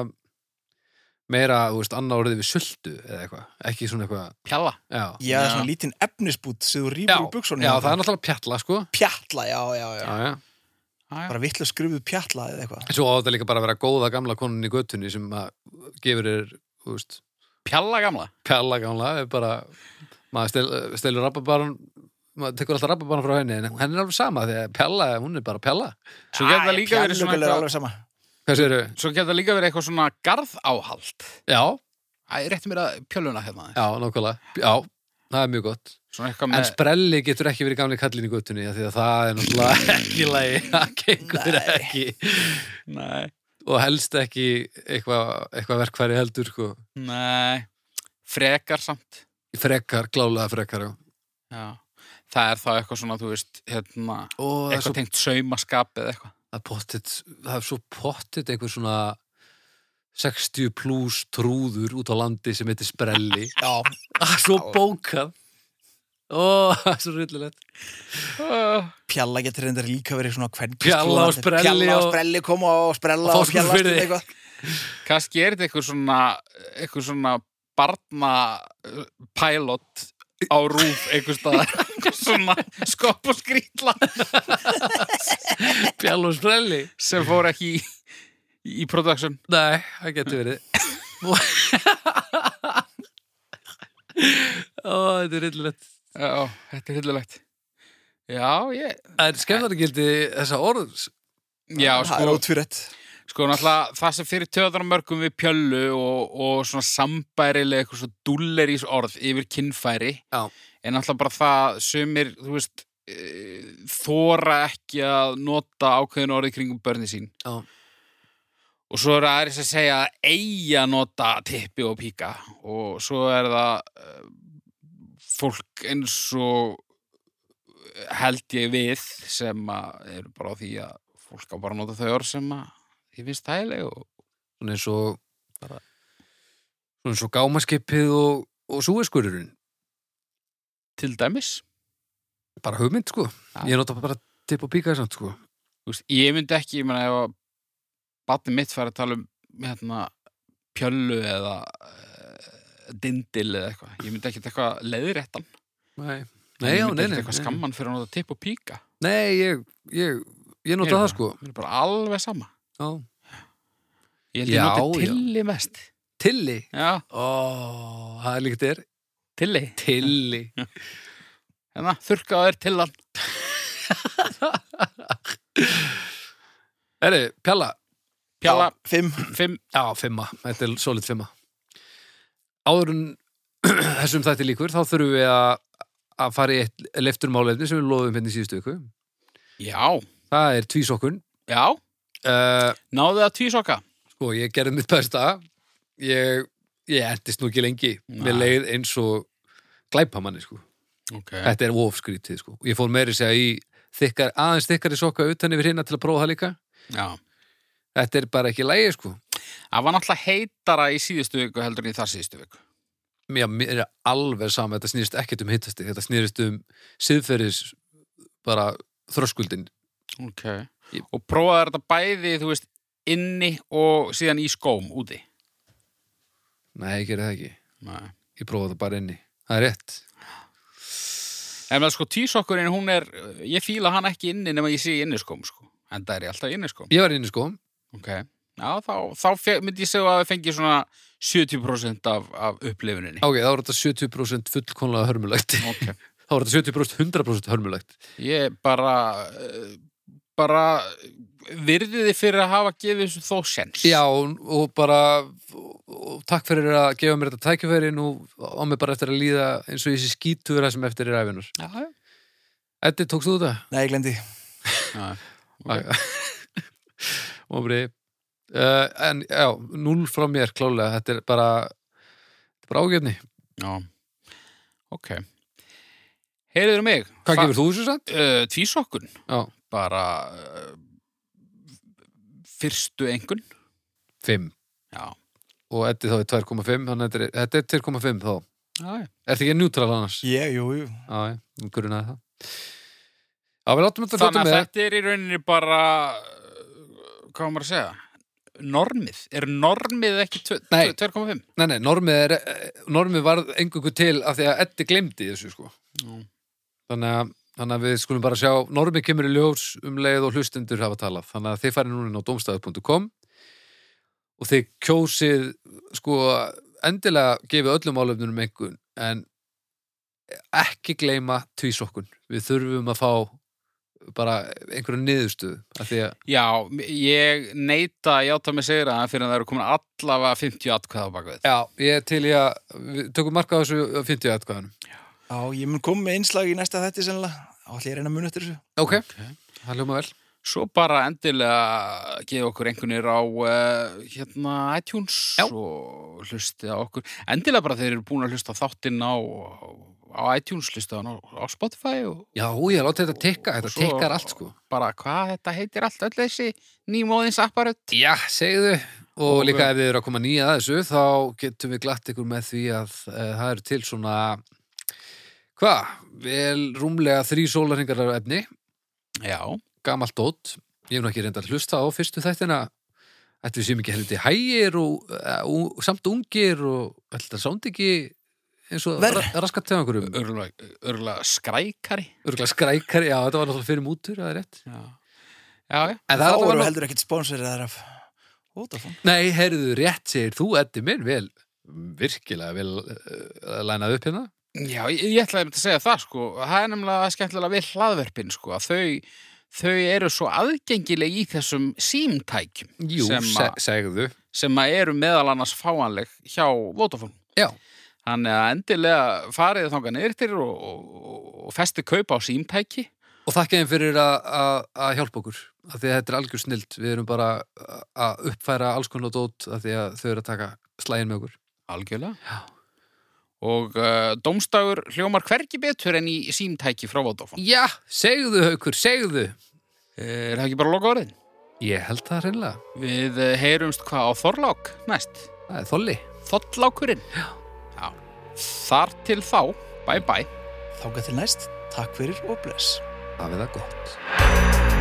Speaker 3: meira, þú veist, annað orðið við sultu eða eitthvað, ekki svona eitthvað
Speaker 1: pjalla
Speaker 3: já,
Speaker 2: Ég er
Speaker 1: Já.
Speaker 2: svona lítinn efnisbút sem þú
Speaker 3: já,
Speaker 2: rýfur úr buksunum.
Speaker 3: já, það er náttúrulega pjalla sko
Speaker 2: Pjalla, já, já, já.
Speaker 3: já, já
Speaker 1: Já, já.
Speaker 2: Bara vittlega skrifuð pjalla eða eitthvað.
Speaker 3: Svo á þetta líka bara að vera góða gamla konun í göttunni sem að gefur þér, þú veist,
Speaker 1: Pjalla gamla
Speaker 3: pjalla gamla, er bara, maður stel, stelur rappabaran, maður tekur alltaf rappabaran frá henni, en henni er alveg sama því að pjalla, hún er bara pjalla.
Speaker 1: Svo getur það líka verið svona
Speaker 2: Pjallugul er
Speaker 1: eitthvað,
Speaker 2: alveg sama.
Speaker 3: Hvað séru?
Speaker 1: Svo getur það líka verið eitthvað svona garðáhald
Speaker 3: Já,
Speaker 1: Æ, rétti mér að pjöluna hérna aðeins.
Speaker 3: já, nákvæmlega, já, það er mjög gott.
Speaker 1: Svona eitthvað
Speaker 3: En
Speaker 1: með
Speaker 3: sprelli getur ekki verið gamli kallin í göttunni, af því að það er náttúrulega ekki í lagi, það gengur
Speaker 2: Nei.
Speaker 3: ekki,
Speaker 1: Nei,
Speaker 3: og helst ekki eitthvað eitthva verkfæri heldur, sko.
Speaker 1: nei Frekar samt
Speaker 3: Frekar, glálega frekar, já.
Speaker 1: Já Það er þá eitthvað svona, þú veist, hérna
Speaker 3: Ó, það er svo
Speaker 1: Eitthvað tengt saumaskap eða eitthvað
Speaker 3: það er pottet, það er svo pottet einhver svona 60 pluss trúður út á landi sem heitir Sprelli
Speaker 2: Já,
Speaker 3: það er svo bókað ó, það er svo ryllilegt
Speaker 2: pjalla getur reyndar líka verið svona kvennkist
Speaker 3: Pjalla og sprelli
Speaker 2: pjalla og
Speaker 3: og-
Speaker 2: sprelli koma og sprella
Speaker 3: Og
Speaker 2: og pjalla
Speaker 3: Fáskrúðsfirði.
Speaker 2: stund eitthvað
Speaker 1: Kannski er þetta eitthvað svona eitthvað svona barna uh, eh, pilot á rúf einhvers staðar svona skopp og skrýtla
Speaker 3: Bjall og sprelli
Speaker 1: sem fór ekki í, í production
Speaker 3: Nei, það getur verið Ó, þetta er rillilegt
Speaker 1: Já, þetta er hillulegt Já, ég
Speaker 3: En skemmtargildi þessa orð
Speaker 1: Já,
Speaker 2: það er
Speaker 1: sko,
Speaker 2: ótvírætt
Speaker 1: sko náttúrulega það sem fyrir töðar mörgum við pjöllu og, og svona sambærilega eitthvað svo dullerís orð yfir kynfæri
Speaker 3: Já.
Speaker 1: en náttúrulega bara það sumir, þú veist e, þóra ekki að nota ákveðin orðið kringum börni sín
Speaker 3: Já.
Speaker 1: og svo er það aðeins að segja að eigi að nota tippi og píka og svo er það e, fólk eins og eh, held ég við sem að eru bara á því að fólk á bara að nota þau orð sem að því finnst þægileg og
Speaker 3: Svona eins og Svona eins og gámaskipið og, og súeskururinn
Speaker 1: til dæmis
Speaker 3: Bara hugmynd sko
Speaker 1: Já.
Speaker 3: Ég nota bara tipp og píka samt sko
Speaker 1: Þú veist, ég myndi ekki, ég meina ef að batni mitt færi að tala um hérna, pjöllu eða uh, dindil eða eitthvað ég myndi ekki eitthvað leiðréttan
Speaker 3: Nei, nei,
Speaker 1: ég myndi
Speaker 3: já, nei,
Speaker 1: ekki
Speaker 3: nei,
Speaker 1: eitthvað
Speaker 3: nei.
Speaker 1: skamman fyrir að nota tipp og píka
Speaker 3: nei ég, ég, ég
Speaker 1: Ég
Speaker 3: nota
Speaker 1: er
Speaker 3: það sko
Speaker 1: mér er bara alveg sama
Speaker 3: já.
Speaker 1: ég held ég
Speaker 3: Já,
Speaker 1: noti
Speaker 3: já.
Speaker 1: tilli mest
Speaker 3: Tilli
Speaker 1: já,
Speaker 3: Ó, það er líkt þér
Speaker 1: tilli
Speaker 3: Tilli
Speaker 1: hérna, þurrkaðu þér tillan
Speaker 3: Eri, pjalla
Speaker 1: pjalla,
Speaker 2: Fimm
Speaker 1: fimm
Speaker 3: Já, fimma, þetta er solid fimma Áður en þessum þætti líkur, þá þurfum við að að fara í eitt leifturmálefni sem við loðum hérna í síðustu viku
Speaker 1: já,
Speaker 3: Það er tvísokkun
Speaker 1: já,
Speaker 3: uh,
Speaker 1: náðu það tvísoka
Speaker 3: Sko, ég gerði mitt besta Ég, ég endist nú ekki lengi
Speaker 1: Nei.
Speaker 3: Mér leið eins og glæpamanni, sko
Speaker 1: okay.
Speaker 3: Þetta er ofskrítið, sko Ég fór meiri segja í þykkar, aðeins þykkari sokka utan yfir hérna til að prófa það líka
Speaker 1: já
Speaker 3: Þetta er bara ekki lægi, sko
Speaker 1: Það var náttúrulega heitara í síðustu viku heldur en í þar síðustu viku.
Speaker 3: Já, mér er alveg sama, þetta snýrist ekkert um hittasti, þetta snýrist um siðferðis bara þröskuldin.
Speaker 1: Ok. Og prófaði þetta bæði, þú veist, inni og síðan í skóm úti.
Speaker 3: Nei, ég gerði það ekki.
Speaker 1: Nei.
Speaker 3: Ég prófaði það bara inni. Það er rétt.
Speaker 1: En með sko tísokkurinn, hún er, ég fíla hann ekki inni nema ég sé í inniskóm, sko. En það er ég alltaf í inniskóm.
Speaker 3: Ég var inni sko,
Speaker 1: Ok. Já, þá, þá fe- myndi ég segja að við fengi svona 70% af, af upplifuninni.
Speaker 3: ok, þá var þetta 70% fullkonlega hörmulegt.
Speaker 1: Ok.
Speaker 3: þá var þetta 70% 100% hörmulegt.
Speaker 1: Ég bara, eh, bara virði þið fyrir að hafa gefið þessu þó sens.
Speaker 3: Já, og bara og, og takk fyrir að gefa mér þetta tækifæri nú á mig bara eftir að líða eins og ég sé skítur það sem eftir er æfinar.
Speaker 1: Já, já.
Speaker 3: Eddi, tókst þú þetta?
Speaker 2: Nei, ég glendi
Speaker 1: Já.
Speaker 3: Óbri uh, En já, núl frá mér klálega Þetta er bara, þetta er bara ágefni
Speaker 1: Já, ok. Heyriður mig.
Speaker 3: Hvað gefur þú þessu satt?
Speaker 1: Uh, tvísokkun,
Speaker 3: Já,
Speaker 1: bara uh, fyrstu engun.
Speaker 3: 5
Speaker 1: Já.
Speaker 3: Og Eddi þá er 2,5 Þannig að þetta er- þetta er 2,5 þá
Speaker 1: Já,
Speaker 3: Ertu ekki neutral annars? Já,
Speaker 2: Ég, jú, jú
Speaker 3: já, um grunaði það Já, við látum þetta um
Speaker 1: þannig
Speaker 3: hlutum
Speaker 1: að
Speaker 3: með
Speaker 1: þetta er í rauninni bara, uh, hvað á maður að segja, normið. Er normið ekki tvö-
Speaker 3: Nei.
Speaker 1: tvö- 2,5?
Speaker 3: Nei, nei, normið, er, eh, normið varð engungu til af því að Eddi glemdi þessu sko
Speaker 1: Já.
Speaker 3: Þannig að Þannig að við skulum bara sjá, normið kemur í ljós um leið og hlustendur hafa talað. Þannig að þið farið núna inn á domstafur.com og þið kjósið, sko, endilega gefið öllum álöfnunum einhvern, en ekki gleyma tvísokkun. Við þurfum að fá bara einhverja niðurstöðu. Af því að,
Speaker 1: Já, ég neita að játa mig segir að fyrir að það eru komin allavega 50 atkvæða baka við.
Speaker 3: já, ég er til í að, við tökum marka á þessu að 50 aðkvæðanum.
Speaker 2: Já, ég mun koma með einslag í næsta þætti sennilega Þá ætla ég að reyna að muna eftir þessu
Speaker 3: Ok, það hljóma vel.
Speaker 1: Svo bara endilega gefa okkur einhvernir á uh, hérna iTunes
Speaker 3: Já.
Speaker 1: og hlustið á okkur. Endilega bara þeir eru búin að hlusta á þáttinn á, á iTunes, hlusta á, á Spotify og
Speaker 3: Já, ég láti þetta tikka,
Speaker 1: Og
Speaker 3: þetta
Speaker 1: svo-
Speaker 3: tikkar allt, sko.
Speaker 1: bara hvað þetta heitir allt, öll þessi nýmóðins apparöt.
Speaker 3: Já, segðu
Speaker 1: Og-
Speaker 3: og líka ef þið eru að koma nýja að þessu þá getum við glatt ykkur með því að uh, það eru til svona hvað, vel rúmlega þrý sólarhingar af efni,
Speaker 1: Já,
Speaker 3: gamalt dót ég hef nú ekki reynda að hlusta á fyrstu þættina eh, ætli við séum ekki helviti hægir og, uh, og samt ungir og ætli það sánd ekki eins og
Speaker 2: Verr.
Speaker 3: ra- raskat tegangurum
Speaker 1: örgulega, örgulega skrækari
Speaker 3: örgulega skrækari, já þetta var náttúrulega fyrir mútur það er rétt
Speaker 1: já, já, já.
Speaker 3: En
Speaker 2: Þá
Speaker 3: það
Speaker 2: eru
Speaker 3: var
Speaker 2: heldur ekkit spónsorið þar af Vodafone.
Speaker 3: Nei, heyrðu, rétt segir þú, Eddi minn, vel, virkilega vel uh, lænað upp hérna.
Speaker 1: Já, ég, ég ætlaði einmitt að segja það sko, það er nefnilega skemmtilega við hlaðverpin sko, að þau, þau eru svo aðgengileg í þessum símtækjum
Speaker 3: Jú,
Speaker 1: sem,
Speaker 3: se
Speaker 1: að,
Speaker 3: segðu.
Speaker 1: sem að eru meðal annars fáanleg hjá Vodafone.
Speaker 3: Já,
Speaker 1: Þannig að endilega farið þangað niður til og, og, og festi kaupa á símtæki.
Speaker 3: og þakka þeim fyrir að- að að hjálpa okkur, af því að þetta er algjör snilt, við erum bara að- að uppfæra alls konar dót af því að þau eru að taka slægin með okkur.
Speaker 1: Algjörlega.
Speaker 3: Já.
Speaker 1: Og uh, dómstagur hljómar hvergi betur en í símtæki frá Vodafone.
Speaker 3: Já, segðu, haukur, segðu.
Speaker 1: Er það ekki bara loka orðin?
Speaker 3: Ég held það hreinlega,
Speaker 1: Við eh, heyrumst hvað á Þorlák næst.
Speaker 3: það er þolli.
Speaker 1: Þottlákurinn. Já. Já. Þar til þá. Bye bye.
Speaker 2: Þáka til næst, takk fyrir og bless
Speaker 3: Það við það gott.
Speaker 4: Thank